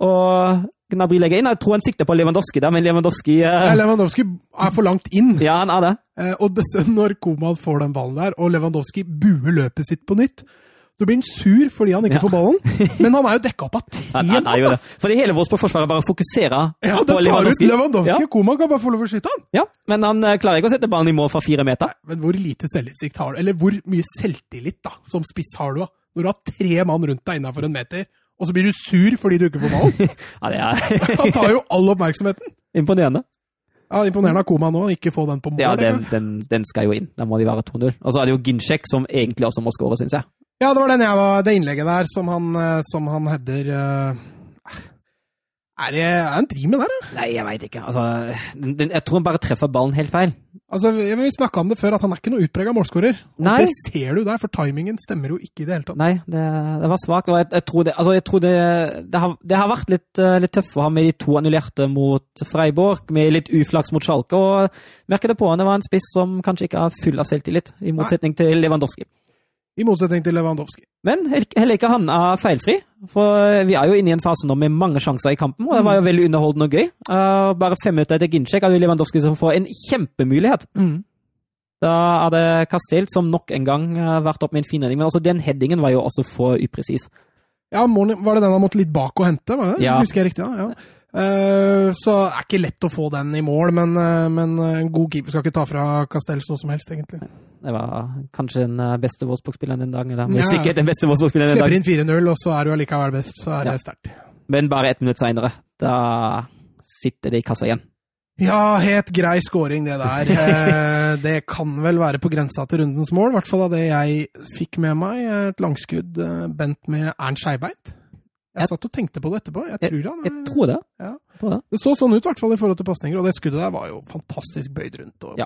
B: Og Gnabry legger inn. Jeg tror han sikter på Lewandowski der, men Lewandowski eh,
A: Lewandowski er for langt inn.
B: Ja, han er det.
A: Eh, Og dess- når Koman får den ballen der, og Lewandowski buer løpet sitt på nytt, så blir han sur fordi han ikke
B: Ja.
A: får ballen. Men han er jo dekka opp av tre
B: Han, han er jo
A: mann!
B: det. Fordi hele vårt forsvar bare fokuserer
A: Ja, de
B: på
A: tar ut
B: Lewandowski.
A: Lewandowski,
B: Ja,
A: og Koman kan bare få lov å skyte han!
B: ja, men han eh, klarer ikke å sette ballen i mål fra fire meter.
A: Men hvor lite selvinnsikt har du? Eller hvor mye selvtillit da, som spiss har du? da? Når du har tre mann rundt deg innafor en meter, og så blir du sur fordi du ikke får ballen?
B: Ja, det er
A: Han tar jo all oppmerksomheten!
B: imponerende.
A: Ja, Imponerende av Koman nå, ikke få den på mål.
B: Ja, den,
A: eller?
B: den, den skal jo inn. Da må de være 2-0. Og så er det jo Ginchek som egentlig også må skåre, syns jeg.
A: ja det var den jeg var, det innlegget der som han, eh, som han header eh, Er det er han driver med der, da?
B: Nei, jeg veit ikke. Altså, den, den, jeg tror han bare treffer ballen helt feil.
A: Altså, vi vi snakka om det før, at han er ikke noe utprega målskårer. Og
B: Nei.
A: Det ser du der, for timingen stemmer jo ikke i det hele tatt.
B: Nei, det, det var svakt. Og jeg, jeg tror, det, altså jeg tror det, det, har, det har vært litt, eh, litt tøft for ham med de to annullerte mot Freiborg, med litt uflaks mot Schalke. Og jeg merker det på han, det var en spiss som kanskje ikke er full av selvtillit, i motsetning til Lewandowski.
A: I motsetning til Lewandowski.
B: Men hel- heller ikke han er feilfri, for vi er jo inne i en fase nå med mange sjanser i kampen, og det var jo veldig underholdende og gøy. Eh, bare fem minutter etter Ginchek er det Lewandowski som får en kjempemulighet. Da er det Castell som nok en gang har vært opp med en fin redning, men også den headingen var jo også for upresis.
A: Ja, Morn- Var det den han måtte litt bak og hente? var det?
B: Ja.
A: Husker jeg riktig? da? Ja. Eh, så er ikke lett å få den i mål, men, eh, men eh, en god keeper skal ikke ta fra Castells noe som helst, egentlig.
B: Det var kanskje den eh, beste Wolfsburg-spilleren den dagen. Da. Men
A: Ja.
B: sikkert den beste Wolfsburg-spilleren den
A: Slipper
B: dagen.
A: inn 4-0, og så er du allikevel best. Så er
B: Ja.
A: det sterkt.
B: Men bare ett minutt seinere. Da sitter det i kassa igjen.
A: Ja, helt grei scoring, det der. Eh, Det kan vel være på grensa til rundens mål, i hvert fall av det jeg fikk med meg. Et langskudd eh, bent med Ernst Skeibeint. Jeg
B: Jeg-
A: satt og tenkte på det etterpå. Jeg tror han
B: Jeg
A: er-
B: tror det.
A: Ja.
B: Jeg tror det.
A: Det så sånn ut, i hvert fall i forhold til pasninger, og det skuddet der var jo fantastisk bøyd rundt. og
B: Ja.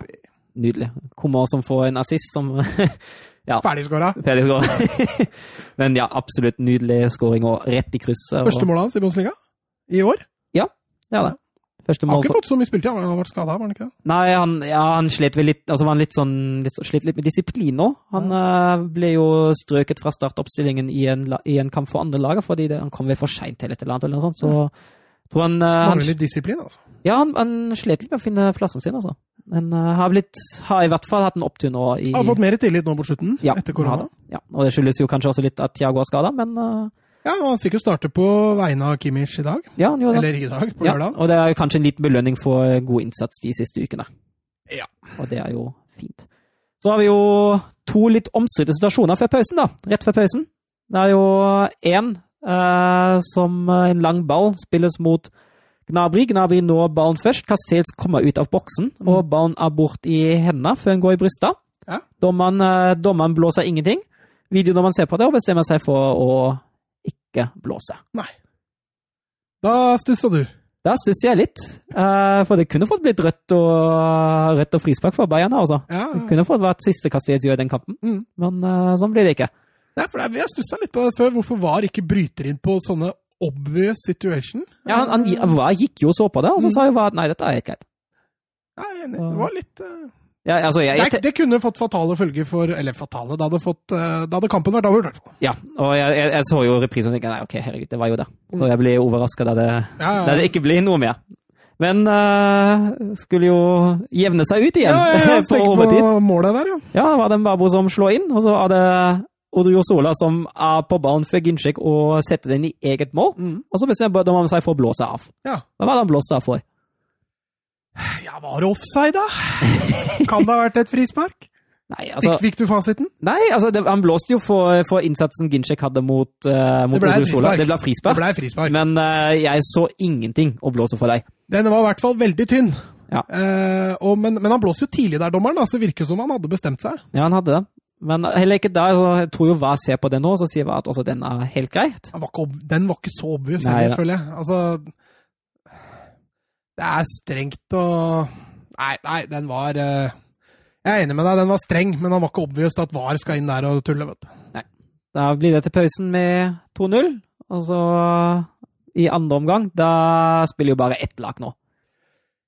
B: Nydelig. Kummer som får en assist som
A: Ferdigskåra.
B: Peder skårer. Men ja, absolutt nydelig scoring og rett i krysset. og-
A: Første målet hans i Bundesliga i år.
B: Ja, det. Første
A: Han
B: mål
A: har
B: for
A: ikke fått så mye spiltid, han har vært skada, var han ikke det?
B: Nei, han, ja, han slet vel litt Altså var han litt sånn litt, så- Slet litt med disiplin nå. Han eh, ble jo strøket fra startoppstillingen i en, la- i en kamp for andre laget, fordi det, han kom vel for seint til et eller annet, eller noe sånt. Så tror han, eh, han
A: Mangler litt disiplin, altså.
B: Ja, han, han slet litt med å finne plassen sin, altså. Men eh, har, blitt, har i hvert fall hatt en opptur nå i
A: Han har fått mer tillit nå mot slutten,
B: Ja,
A: etter
B: han
A: korona.
B: har det. Ja, og det skyldes jo kanskje også litt at Thiago er skada, men eh,
A: Ja, og han fikk jo starte på vegne av Kimmich i dag.
B: ja, han gjorde det.
A: Eller i dag, på
B: Ja,
A: lørdag.
B: og det er jo kanskje en liten belønning for god innsats de siste ukene.
A: Ja.
B: Og det er jo fint. Så har vi jo to litt omstridte situasjoner før pausen, da. Rett før pausen. Det er jo én eh, som eh, en lang ball spilles mot Gnabry. Gnabry når ballen først. Castells kommer ut av boksen, og ballen er bort i hendene før den går i brystet.
A: Mm. Ja.
B: Dommeren, eh, dommeren blåser ingenting. Videodommeren ser på det og bestemmer seg for å ikke blåse.
A: Nei. Da stussa du.
B: Da stusser jeg litt. eh, for det kunne fått blitt rødt og, eh, rødt og frispark for Bayern. her, altså.
A: Ja,
B: Det kunne fått vært siste Castells gjør i den kampen,
A: Mm.
B: men eh, sånn blir det ikke.
A: Nei, for det er- Vi har stussa litt på det før. Hvorfor VAR ikke bryter inn på sånne obvious situation.
B: Ja, han, han, gi- VAR gikk jo og så på det, og
A: Mm.
B: så sa jo VAR at nei, dette er helt greit.
A: Ja, jeg er enig. det var litt eh,
B: Ja, altså, jeg, jeg,
A: det, det kunne fått fatale følger for Eller fatale, da hadde, fått, eh, da hadde kampen vært avgjort, i hvert fall.
B: ja, og jeg, jeg, jeg så jo reprisen og tenkte nei, ok, herregud, det var jo det. Så jeg ble overraska da det,
A: Ja,
B: da
A: ja,
B: det ikke ble noe mer. Men eh, skulle jo jevne seg ut igjen
A: ja, ja, ja,
B: på
A: tenk
B: overtid.
A: på målet der, ja.
B: Ja, det var det Mbabo som slår inn, og så er det Odrio Sola som er på ballen for Ginchek og setter den i eget mål.
A: Mm.
B: Og så bestemmer dommeren seg for å blåse av.
A: Ja.
B: Hva var det han blåste av for?
A: ja var det offside, da? kan det ha vært et frispark?
B: Nei, altså,
A: fikk, fikk du fasiten?
B: nei, altså det, han blåste jo for, for innsatsen Ginchek hadde mot, uh, mot
A: Det ble et
B: Odrio Sola.
A: frispark.
B: Det ble
A: Det
B: frispark.
A: ble frispark.
B: Men eh, jeg så ingenting å blåse for deg.
A: Den var i hvert fall veldig tynn.
B: Ja.
A: Eh, og, men, men han blåser jo tidlig der, dommeren, da, så det virker som han hadde bestemt seg.
B: Ja, han hadde det. Men heller ikke der, så jeg tror jo hva ser på den nå, så sier hva at også den er helt greit.
A: Den var ikke, ob- den var ikke så obvious,
B: Nei,
A: heller,
B: da.
A: føler jeg. Altså Det er strengt og Nei, nei, den var eh, Jeg er enig med deg, den var streng, men han var ikke obvious at VAR skal inn der og tulle, vet du.
B: Da blir det til pausen med 2-0, og så i andre omgang, da spiller jo bare ett lag nå.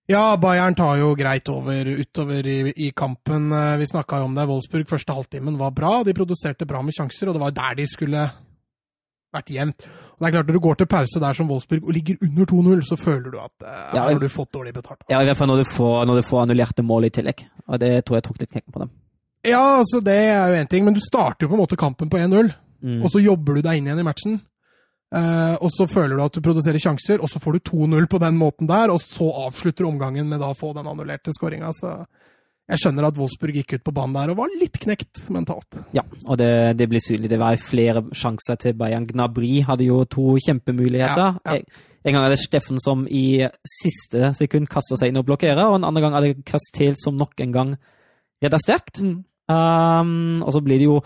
A: Ja, Bayern tar jo greit over utover i, i kampen. Eh, Vi snakka jo om det. Wolfsburg første halvtimen var bra. De produserte bra med sjanser, og det var der de skulle vært jevnt. Det er klart, Når du går til pause der som Wolfsburg og ligger under 2-0, så føler du at eh,
B: Ja,
A: her
B: jeg-
A: har du fått dårlig betalt.
B: Ja, i hvert fall når du får, når du får annullerte mål i tillegg. Og det tror jeg tok litt knekken på dem.
A: Ja, altså det er jo én ting, men du starter jo på en måte kampen på 1-0,
B: Mm.
A: og så jobber du deg inn igjen i matchen. Eh, og så føler du at du produserer sjanser, og så får du 2-0 på den måten der, og så avslutter omgangen med da å få den annullerte skåringa. Så jeg skjønner at Wolfsburg gikk ut på banen der og var litt knekt mentalt.
B: Ja, og det, det blir synlig. Det var flere sjanser til Bayern. Gnabry hadde jo to kjempemuligheter.
A: Ja, ja.
B: En, en gang er det Steffen som i siste sekund kaster seg inn og blokkerer, og en annen gang er det Kastel som nok en gang redder sterkt. Um, og så blir det jo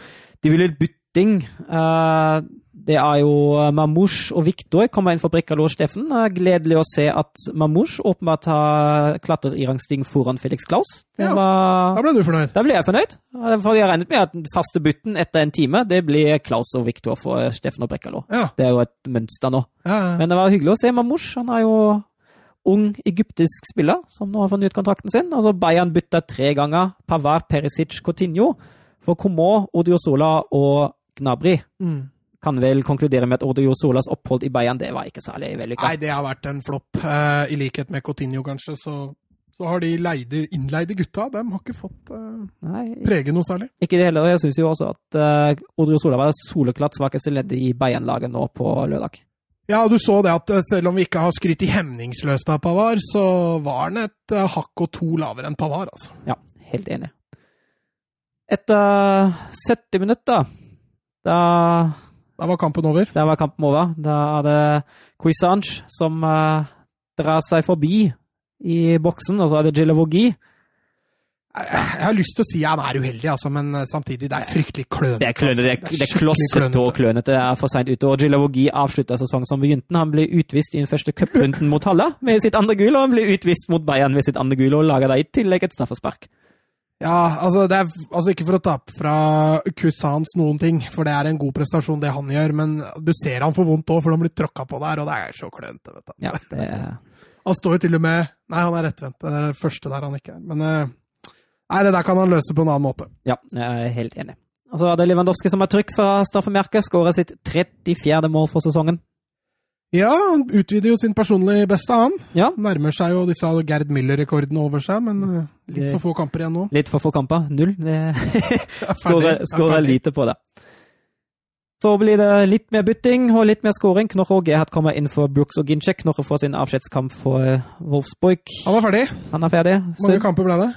B: Det blir litt bytting. Uh, det er jo eh, Mamouche og Viktor kommer inn for Brikkalo og Steffen. Uh, gledelig å se at Mamouche åpenbart har klatret i rangstigen foran Felix Klaus. Det
A: Ja.
B: var
A: Da ble du fornøyd.
B: da blir jeg fornøyd. Eh, For jeg regnet med at den faste bytten etter en time, det blir Klaus og Viktor for Steffen og Brekkalo.
A: Ja,
B: Det er jo et mønster nå.
A: ja, ja.
B: Men det var hyggelig å se Mamouche. Han er jo ung egyptisk spiller som nå har fornyet kontrakten sin. Altså Bayern bytta tre ganger. Pavard, Perisic, Coutinho. For Coman, Odiosola og Gnabry
A: Mm.
B: kan vel konkludere med at Odiosolas opphold i Bayern det var ikke særlig
A: Nei,
B: vellykka.
A: det har vært en flopp. Eh, I likhet med Cotinho, kanskje, så, så har de leide, innleide gutta. De har ikke fått eh,
B: Nei,
A: prege noe særlig.
B: Ikke det heller. og Jeg syns jo også at uh, Odriozola var det soleklart svakeste leddet i Bayern-laget nå på lørdag.
A: Ja, og du så det at eh, selv om vi ikke har skrytt i hemningsløst av Pavar, så var han et eh, hakk og to lavere enn Pavar, altså.
B: Ja, helt enig. Etter 70 minutter, da,
A: Da var kampen over.
B: da var kampen over. Da er det Cuisange som eh, drar seg forbi i boksen, og så er det Gillavogi.
A: Jeg, jeg har lyst til å si han er uheldig, altså, men eh, samtidig, det er fryktelig klønete.
B: Det er klønete, det er,
A: altså.
B: det er
A: skikkelig
B: klossete og klønete. Det er for seint ute. Og Gillavogi avslutta sesongen som begynte. Han ble utvist i den første cuprunden mot Halla med sitt andre gull, og han ble utvist mot Bayern med sitt andre gull, og laga da i tillegg et straffespark.
A: Ja, altså, det er, altså ikke for å tape fra Kusans noen ting, for det er en god prestasjon det han gjør, men du ser han får vondt òg, for han blir tråkka på der, og det er så klønete, vet du.
B: Ja, det er
A: Han står jo til og med Nei, han er rettvendt. Det er det første der han ikke er. Men eh, nei, det der kan han løse på en annen måte.
B: Ja, jeg er helt enig. Og så er det Lewandowski som har trykk fra straffemerket. Skårer sitt 34. mål for sesongen.
A: Ja, han utvider jo sin personlige beste, han.
B: Ja,
A: Nærmer seg jo disse Gerd Müller-rekordene over seg, men eh, litt for få kamper igjen nå.
B: litt for få kamper. Null. Det skårer, skårer
A: Ferdig.
B: lite på det. Så blir det litt mer bytting og litt mer skåring. Knorre og Gerhard kommer inn for Brooks og Ginchek. Knorre får sin avskjedskamp for eh, Wolfsburg.
A: Han var ferdig.
B: Han er ferdig.
A: Hvor mange
B: Så
A: kamper ble det?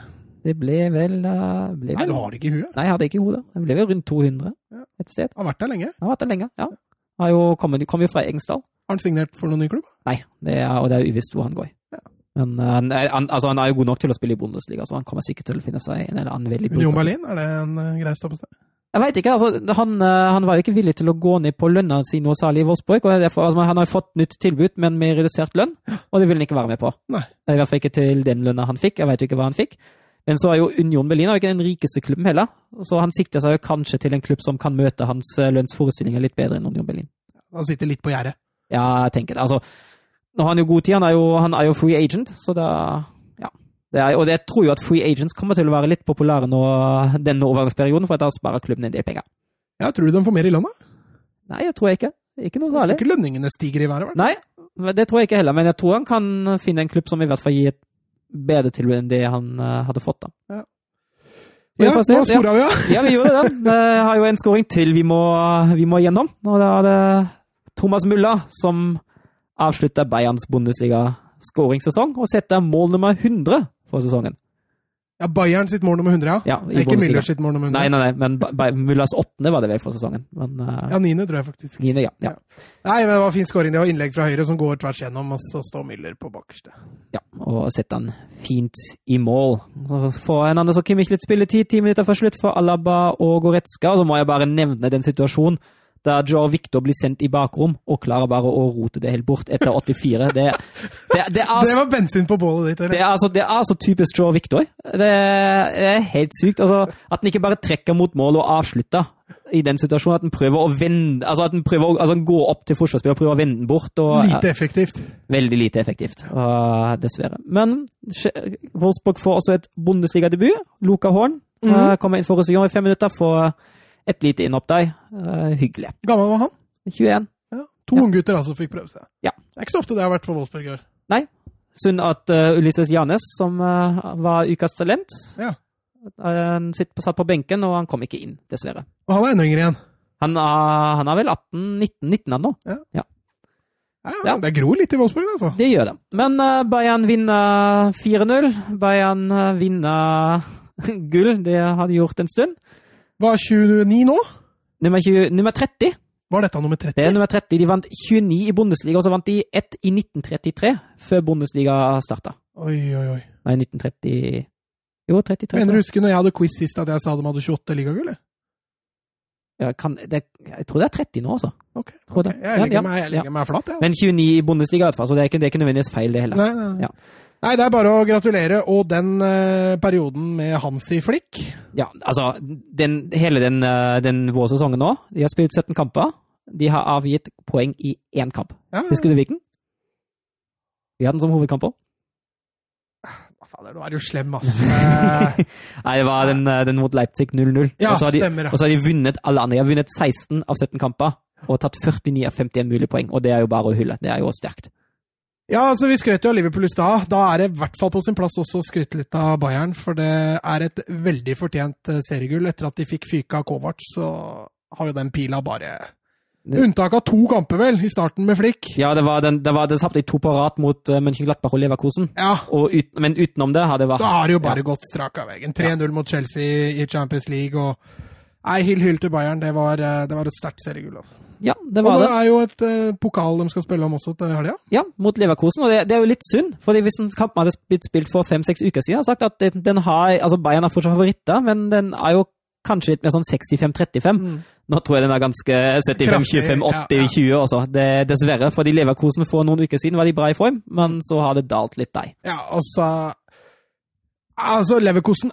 B: det ble vel, eh, ble
A: Nei,
B: vel
A: du har det ikke i huet.
B: Nei, jeg hadde ikke i hodet. Det ble vel rundt 200 et sted.
A: Han har vært der lenge.
B: Han har vært der lenge, ja. Har jo kommet, kom jo fra Eggensdal.
A: Har han signert for noen ny klubb?
B: Nei, det er, og det er uvisst hvor han går. Men eh, han, er- han, altså, han er jo god nok til å spille i Bundesliga, så han kommer sikkert til å finne seg en eller annen veldig
A: Union Berlin, er det en eh, grei stoppested?
B: Jeg veit ikke. altså, han, eh, han var jo ikke villig til å gå ned på lønna si noe særlig i Wolfsburg. og derfor, altså, Han har jo fått nytt tilbud, men med redusert lønn, og det vil han ikke være med på.
A: Nei.
B: I hvert fall ikke til den lønna han fikk. Jeg veit jo ikke hva han fikk. Men så er jo Union Berlin er jo ikke den rikeste klubben heller, så han sikter seg jo kanskje til en klubb som kan møte hans eh, lønnsforestillinger litt bedre enn Union Berlin.
A: Han sitter litt på gjerdet.
B: Ja, jeg tenker det. Altså, nå har han jo god tid. Han er jo, han er jo free agent, så da Ja. Det er, og jeg tror jo at free agents kommer til å være litt populære nå, denne overgangsperioden, for da sparer klubben en del penger.
A: Ja, tror du de får mer i lønna?
B: Nei, jeg tror jeg ikke. Ikke noe
A: Tror
B: særlig.
A: ikke lønningene stiger i været? vel?
B: Nei, men det tror jeg ikke heller. Men jeg tror han kan finne en klubb som i hvert fall gir et bedre tilbud enn det han eh, hadde fått, da. Vi
A: Ja,
B: får
A: nå
B: se, ja.
A: spora vi, ja.
B: Ja, vi gjorde det. Vi har jo en scoring til vi må, vi må gjennom. Og da er det Thomas Mulla som avslutter Bayerns Bundesliga-skåringssesong og setter mål nummer 100 for sesongen.
A: Ja, Bayern sitt mål nummer 100, ja.
B: Ja,
A: Det
B: i
A: er ikke
B: Bundesliga.
A: Müller sitt mål nummer 100.
B: Nei, nei, nei, men Ba- Ba- Mullas åttende var det vel for sesongen. Men eh,
A: Ja, niende, tror jeg faktisk.
B: niende, ja. ja.
A: Nei, men det var fin scoring. Det var innlegg fra høyre som går tvers gjennom, og så står Müller på bakerste.
B: ja. Og setter han fint i mål. Så får en annen så Kimmich litt spilletid, ti minutter før slutt for Alaba og Goretzka. Og så må jeg bare nevne den situasjonen der Joe Victor blir sendt i bakrom og klarer bare å rote det helt bort etter 84. Det, det, det, er,
A: Det
B: så-
A: var bensin på bålet ditt,
B: Altså- det,
A: eller?
B: er, så, det er så typisk Joe Victor. Det er helt sykt. Altså, at han ikke bare trekker mot mål og avslutter i den situasjonen. At han prøver å vende Altså at han prøver å altså, han går opp til forsvarsspillet og prøver å vende den bort. Og,
A: Lite effektivt.
B: Veldig lite effektivt, og dessverre. Men Sch- Wolfsburg får også et Bundesliga-debut. Luca Horn
A: Mhm.
B: eh, kommer inn for Rosillon i fem minutter, får et lite innhopp der. Eh, hyggelig.
A: Gammel var han?
B: 21.
A: Ja. To
B: Ja.
A: unggutter altså fikk prøve seg.
B: Ja.
A: Det er ikke så ofte det har vært for Wolfsburg i år.
B: Synd at eh, Ulysses Janes, som eh, var ukas talent, eh,
A: Ja.
B: han sitt- satt på benken, og han kom ikke inn, dessverre.
A: Og han er enda yngre igjen.
B: Han er, han er vel 18-19 ennå.
A: Ja,
B: Ja.
A: Det gror litt i Wolfsburg, altså.
B: Det gjør det. Men eh, Bayern vinner 4-0. Bayern eh, vinner gull. Det har de gjort en stund.
A: Var 29 nå?
B: Nummer, 20, nummer 30.
A: Var dette nummer
B: Det er
A: 30?
B: nummer 30. De vant 29 i Bundesliga, og så vant de ett i 1933, før Bundesliga starta.
A: Oi, oi, oi.
B: Nei, 1930 Jo, 33.
A: Mener du husker når jeg hadde quiz sist at jeg sa de hadde 28 ligagull? eller?
B: Ja, kan, det, jeg tror det er 30 nå, altså.
A: Ok.
B: Tror det.
A: Jeg
B: Ja, ja,
A: legger meg, jeg legger meg flat, jeg.
B: Men 29 i Bundesliga, i hvert fall, så det er ikke, det er ikke nødvendigvis feil, det heller.
A: Nei, nei, nei.
B: Ja.
A: nei, det er bare å gratulere. Og den eh, perioden med Hansi Flick
B: Ja, altså, den, hele den, eh, den vårsesongen nå De har spilt 17 kamper. De har avgitt poeng i én kamp.
A: ja,
B: Husker du hvilken? Vi hadde den som hovedkamp òg.
A: Hva fader, nå er du slem, ass. Eh,
B: Nei, det var den, eh, den mot Leipzig 0-0.
A: ja,
B: og, så har de-
A: stemmer.
B: og
A: ja.
B: så har de vunnet alle andre. De har vunnet 16 av 17 kamper og tatt 49 av 51 mulige poeng. Og det er jo bare å hylle. Det er jo sterkt.
A: Ja, altså, vi skrøt jo av Liverpool i stad. Da er det i hvert fall på sin plass også å skryte litt av Bayern, for det er et veldig fortjent eh, seriegull. Etter at de fikk fyka av Kovac, så har jo den pila bare
B: Det-
A: Unntak av to kamper, vel, i starten med Flick.
B: Ja, det var den, det var, det tapte i to på rad mot uh, Mönchenglattberg og Leverkusen.
A: Ja,
B: Og ut, men utenom det har det vært
A: Da har det jo bare gått strak av veien. 3-0 mot Chelsea i Champions League og Nei, hyll hyll til Bayern. Det var, eh, det var et sterkt seriegull. Altså.
B: Ja, det
A: Og
B: var
A: det
B: det.
A: er jo et eh, pokal de skal spille om også til helga.
B: Ja, mot Leverkusen, og det, det er jo litt synd. fordi hvis en kamp hadde blitt spilt for fem-seks uker siden, hadde jeg sagt at den, den har, altså Bayern er fortsatt favoritter, men den er jo kanskje litt mer sånn 65-35.
A: Mm.
B: Nå tror jeg den er ganske 75-25-80-20 også, det, dessverre. Fordi Leverkusen for noen uker siden var de bra i form, men så har det dalt litt der.
A: Ja, altså Altså, Leverkosen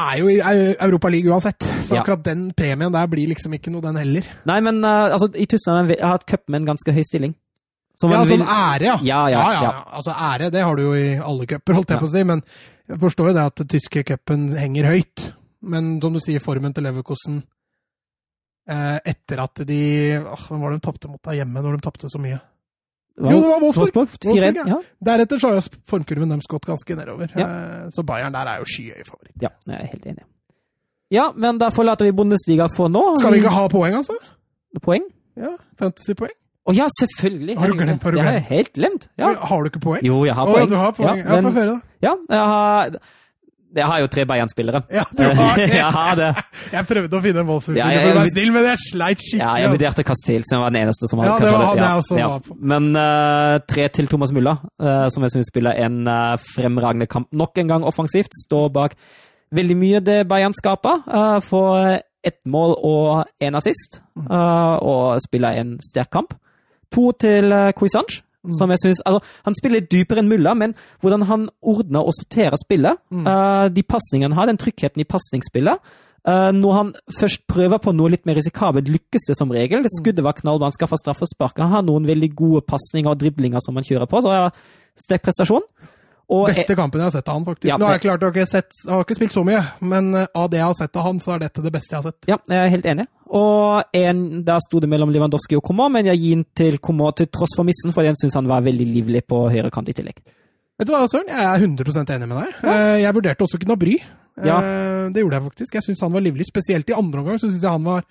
A: er jo i Europaligaen uansett, så
B: Ja.
A: akkurat den premien der blir liksom ikke noe, den heller.
B: Nei, men eh, altså, i Tyskland har hatt cup med en ganske høy stilling. Så
A: Ja,
B: man
A: sånn
B: vil-
A: ære, ja.
B: Ja, ja, ja.
A: Altså, ære, det har du jo i alle cuper, holdt jeg
B: Ja.
A: på å si, men jeg forstår jo det at den tyske cupen henger høyt. Men som du sier, formen til Leverkosen eh, etter at de åh, Hvem var det de tapte mot der hjemme, når de tapte så mye?
B: Hva-
A: Jo, det var Wolfsburg.
B: Wolfsburg, 4-1.
A: Wolfsburg,
B: Ja.
A: Deretter så har jo formkurven deres gått ganske nedover,
B: Ja.
A: eh, så Bayern der er jo skyhøy favoritt.
B: ja, jeg er helt enig. Ja, men da forlater vi Bundesliga for nå.
A: Skal vi ikke ha poeng, altså?
B: Poeng?
A: Ja, Fantasypoeng?
B: Å ja, selvfølgelig!
A: Har du glemt- har du
B: Det har jeg helt glemt. Ja.
A: Har du ikke poeng?
B: Jo, jeg har
A: Å, ja,
B: poeng.
A: du har poeng. Ja,
B: Ja,
A: Få
B: men,
A: høre, da.
B: ja, jeg har Jeg har jo tre Bayern-spillere.
A: Ja, du har det.
B: jeg har det.
A: Jeg prøvde å finne en Wolfsburg,
B: Ja,
A: ja,
B: jeg-
A: jeg, være snill, men jeg sleit skikkelig.
B: Ja, jeg
A: altså.
B: vurderte Castiel, som var den eneste som hadde
A: Ja, det
B: kanskje
A: var han
B: ja,
A: jeg også var på.
B: Men eh, tre til Thomas Mulla, eh, som jeg synes spiller en eh, fremragende kamp. Nok en gang offensivt. Står bak veldig mye det Bayern skaper. eh, får ett mål og en assist,
A: Mm.
B: eh, og spiller en sterk kamp. To til uh, Cuisange.
A: Mm.
B: Som jeg synes, altså, han spiller litt dypere enn Mulla, men hvordan han ordner og sorterer spillet
A: Mm.
B: eh, De pasningene han har, den tryggheten i pasningsspillet eh, Når han først prøver på noe litt mer risikabelt, lykkes det som regel.
A: Mm.
B: Det skuddet var knallbra, han skaffa straffespark. Han har noen veldig gode pasninger og driblinger som han kjører på, så ja, sterk prestasjon. Og
A: Beste kampen jeg har sett av han, faktisk.
B: e- Ja,
A: Nå har jeg
B: det-
A: klart jeg har ikke, sett, jeg har ikke spilt så mye, men eh, av det jeg har sett av han, så er dette det beste jeg har sett.
B: Ja, jeg er helt enig. Og en, der sto det mellom Lewandowski og Komor, men jeg gir den til Komor til tross for missen, fordi jeg syns han var veldig livlig på høyre kant i tillegg.
A: Vet du hva, Søren? Jeg er 100 enig med deg. Eh, Jeg vurderte også Gnabry. Eh,
B: Ja.
A: Det gjorde jeg faktisk. Jeg syns han var livlig. Spesielt i andre omgang så syns jeg han var,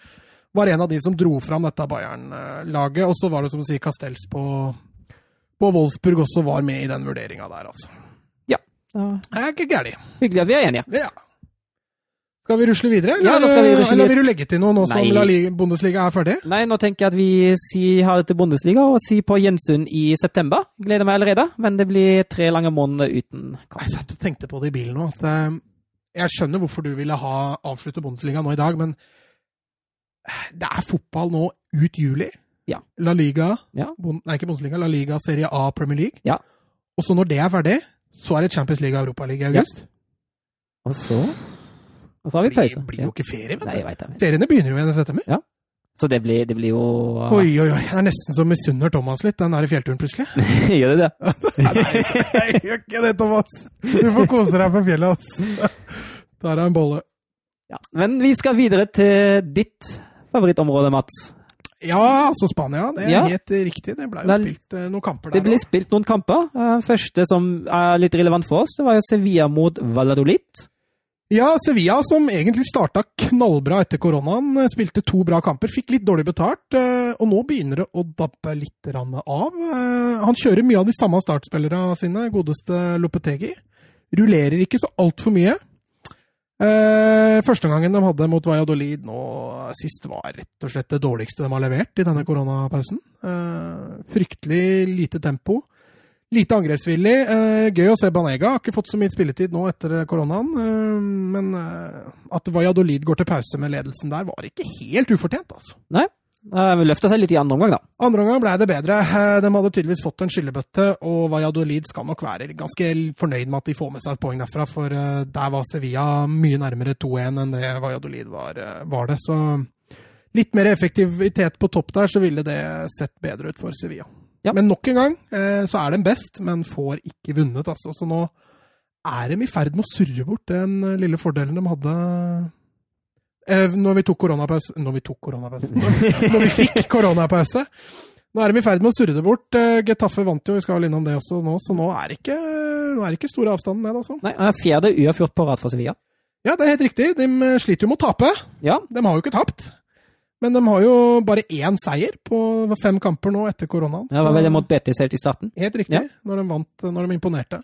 A: var en av de som dro fram dette Bayern-laget. Og så var det som du sier, Castells på, på Wolfsburg også var med i den vurderinga der, altså.
B: Ja,
A: Det er ikke gærent.
B: hyggelig at vi er enige.
A: Ja. Skal vi rusle videre, eller,
B: Ja, da skal vi rusle
A: eller vil du legge til noe nå som
B: Nei.
A: La Liga, Bundesliga er ferdig?
B: Nei, nå tenker jeg at vi sier ha det til Bundesliga og sier på gjensyn i september. Gleder meg allerede, men det blir tre lange måneder uten kamp.
A: Jeg satt og tenkte på det i bilen nå. At eh, jeg skjønner hvorfor du ville ha avslutte Bundesliga nå i dag, men det er fotball nå ut juli.
B: Ja.
A: La Liga
B: Ja.
A: Bund- Nei, ikke Bundesliga. La Liga Serie A Premier League.
B: Ja.
A: Og så når det er ferdig, så er det Champions League og Europaliga i
B: Ja.
A: august.
B: Og så Og så har vi
A: det
B: pause.
A: blir, blir
B: Ja.
A: jo ikke ferie, vet
B: Nei,
A: du.
B: jeg vet det.
A: Seriene begynner jo igjen i september.
B: Så det blir, det blir jo
A: Oi, oi, oi. Jeg er nesten så misunner Thomas litt, den der fjellturen plutselig.
B: Gjør det det?
A: Jeg gjør ikke det, Thomas. Du får kose deg på fjellet, ass. Der er en bolle.
B: Ja. Men vi skal videre til ditt favorittområde, Mats.
A: Ja, altså Spania. Det er
B: Ja.
A: helt riktig. Det ble jo
B: Vel,
A: spilt eh, noen kamper
B: Det
A: der
B: ble
A: også.
B: spilt noen kamper. Eh, Første som er litt relevant for oss, det var jo Sevilla mot Valladolid.
A: Ja, Sevilla, som egentlig starta knallbra etter koronaen, eh, spilte to bra kamper, fikk litt dårlig betalt, eh, og nå begynner det å dabbe litt grann av. Eh, Han kjører mye av de samme startspillerne sine, godeste Lopetegi. Rullerer ikke så altfor mye. Eh, Første gangen de hadde mot Valladolid nå sist, var rett og slett det dårligste de har levert i denne koronapausen. Eh, Fryktelig lite tempo. Lite angrepsvillig. Eh, gøy å se Banega. Har ikke fått så mye spilletid nå etter koronaen. Eh, men eh, at Valladolid går til pause med ledelsen der, var ikke helt ufortjent, altså.
B: Nei, eh, løfta seg litt i andre omgang, da.
A: Andre omgang ble det bedre. Eh, De hadde tydeligvis fått en skyllebøtte, og Valladolid skal nok være ganske fornøyd med at de får med seg et poeng derfra, for eh, der var Sevilla mye nærmere 2-1 enn det Valladolid var, eh, var det. Så litt mer effektivitet på topp der, så ville det sett bedre ut for Sevilla.
B: Ja.
A: Men nok en gang eh, så er de best, men får ikke vunnet, altså. Så nå er de i ferd med å surre bort den eh, lille fordelen de hadde eh, når vi tok koronapause Når vi tok koronapause Når vi fikk koronapause. Nå er de i ferd med å surre det bort. Eh, Getafe vant jo, vi skal vel innom det også nå, så nå er det ikke, nå er det ikke store avstanden ned, altså.
B: Nei, eh, Fjerde uavgjort på rad for Sevilla.
A: Ja, det er helt riktig. De eh, sliter jo med å tape.
B: Ja,
A: De har jo ikke tapt. Men de har jo bare én seier på fem kamper nå etter koronaen.
B: det var vel mot Betis helt i starten.
A: Helt riktig.
B: Ja.
A: Når, de vant, eh, når de imponerte.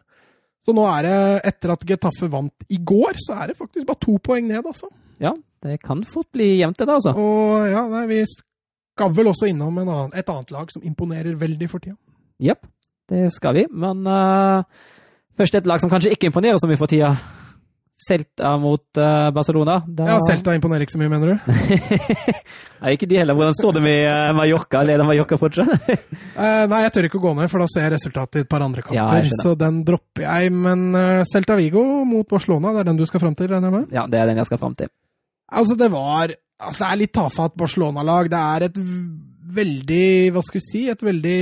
A: Så nå er det, etter at Getafe vant i går, så er det faktisk bare to poeng ned, altså.
B: Ja, det kan fort bli jevnt, det da, altså.
A: Og ja, nei, vi skal vel også innom en annen, et annet lag som imponerer veldig for tida.
B: Jepp, det skal vi. Men eh, først et lag som kanskje ikke imponerer så mye for tida. Celta mot eh, Barcelona. Da-
A: Ja, Celta imponerer ikke så mye, mener du?
B: Nei, ikke de heller. Hvordan står det med eh, Mallorca? Leder Mallorca fortsatt?
A: Eh, nei, jeg tør ikke å gå ned, for da ser jeg resultatet i et par andre kamper.
B: Ja, jeg skjønner.
A: så den dropper jeg. Men eh, Celta Vigo mot Barcelona, det er den du skal fram til, regner jeg med?
B: ja, det er den jeg skal fram til.
A: Altså, det var Altså, det er litt tafatt Barcelona-lag. Det er et v- veldig Hva skal vi si? Et veldig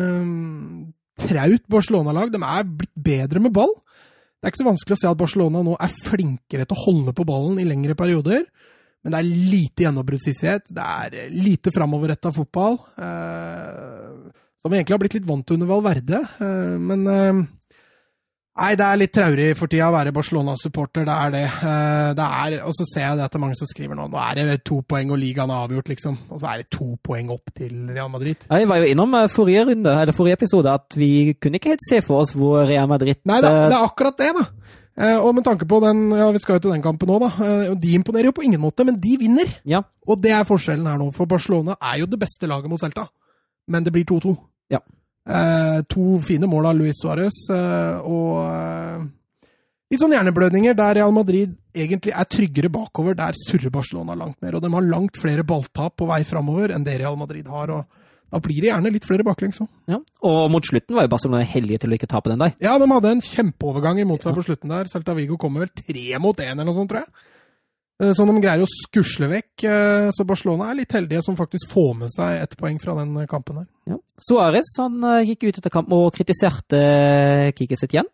A: eh, traut Barcelona-lag. De er blitt bedre med ball. Det er ikke så vanskelig å se at Barcelona nå er flinkere til å holde på ballen i lengre perioder. Men det er lite gjennombruddshissighet. Det er eh, lite framoverretta fotball. Eh, som vi egentlig har blitt litt vant til under Valverde. Eh, men eh, Nei, det er litt traurig for tida å være Barcelona-supporter, det er det. Eh, det er, og så ser jeg det at det er mange som skriver nå nå er det to poeng og ligaen er avgjort, liksom. Og så er det to poeng opp til Real Madrid.
B: Ja, Jeg var jo innom eh, forrige runde, eller forrige episode at vi kunne ikke helt se for oss hvor Real Madrid
A: Nei da,
B: eh,
A: det er akkurat det, da. Eh, og med tanke på den, ja, vi skal jo til den kampen nå, da. Eh, og de imponerer jo på ingen måte, men de vinner.
B: Ja,
A: Og det er forskjellen her nå, for Barcelona er jo det beste laget mot Celta. Men det blir 2-2.
B: Ja.
A: Eh, to fine mål av Luis Suárez, eh, og eh, litt sånn hjerneblødninger der Real Madrid egentlig er tryggere bakover. Der surrer Barcelona langt mer, og de har langt flere balltap på vei framover enn det Real Madrid har. og da blir det gjerne litt flere baklengs òg.
B: ja. Og mot slutten var jo Barcelona heldige til å ikke tape den der.
A: Ja, de hadde en kjempeovergang imot seg på slutten der. Celta Vigo kommer vel tre mot én eller noe sånt, tror jeg. Eh, Som de greier å skusle vekk. eh, Så Barcelona er litt heldige som faktisk får med seg ett poeng fra den eh, kampen her.
B: Ja. Suárez han eh, gikk ut etter kamp og kritiserte Kiki sitt igjen.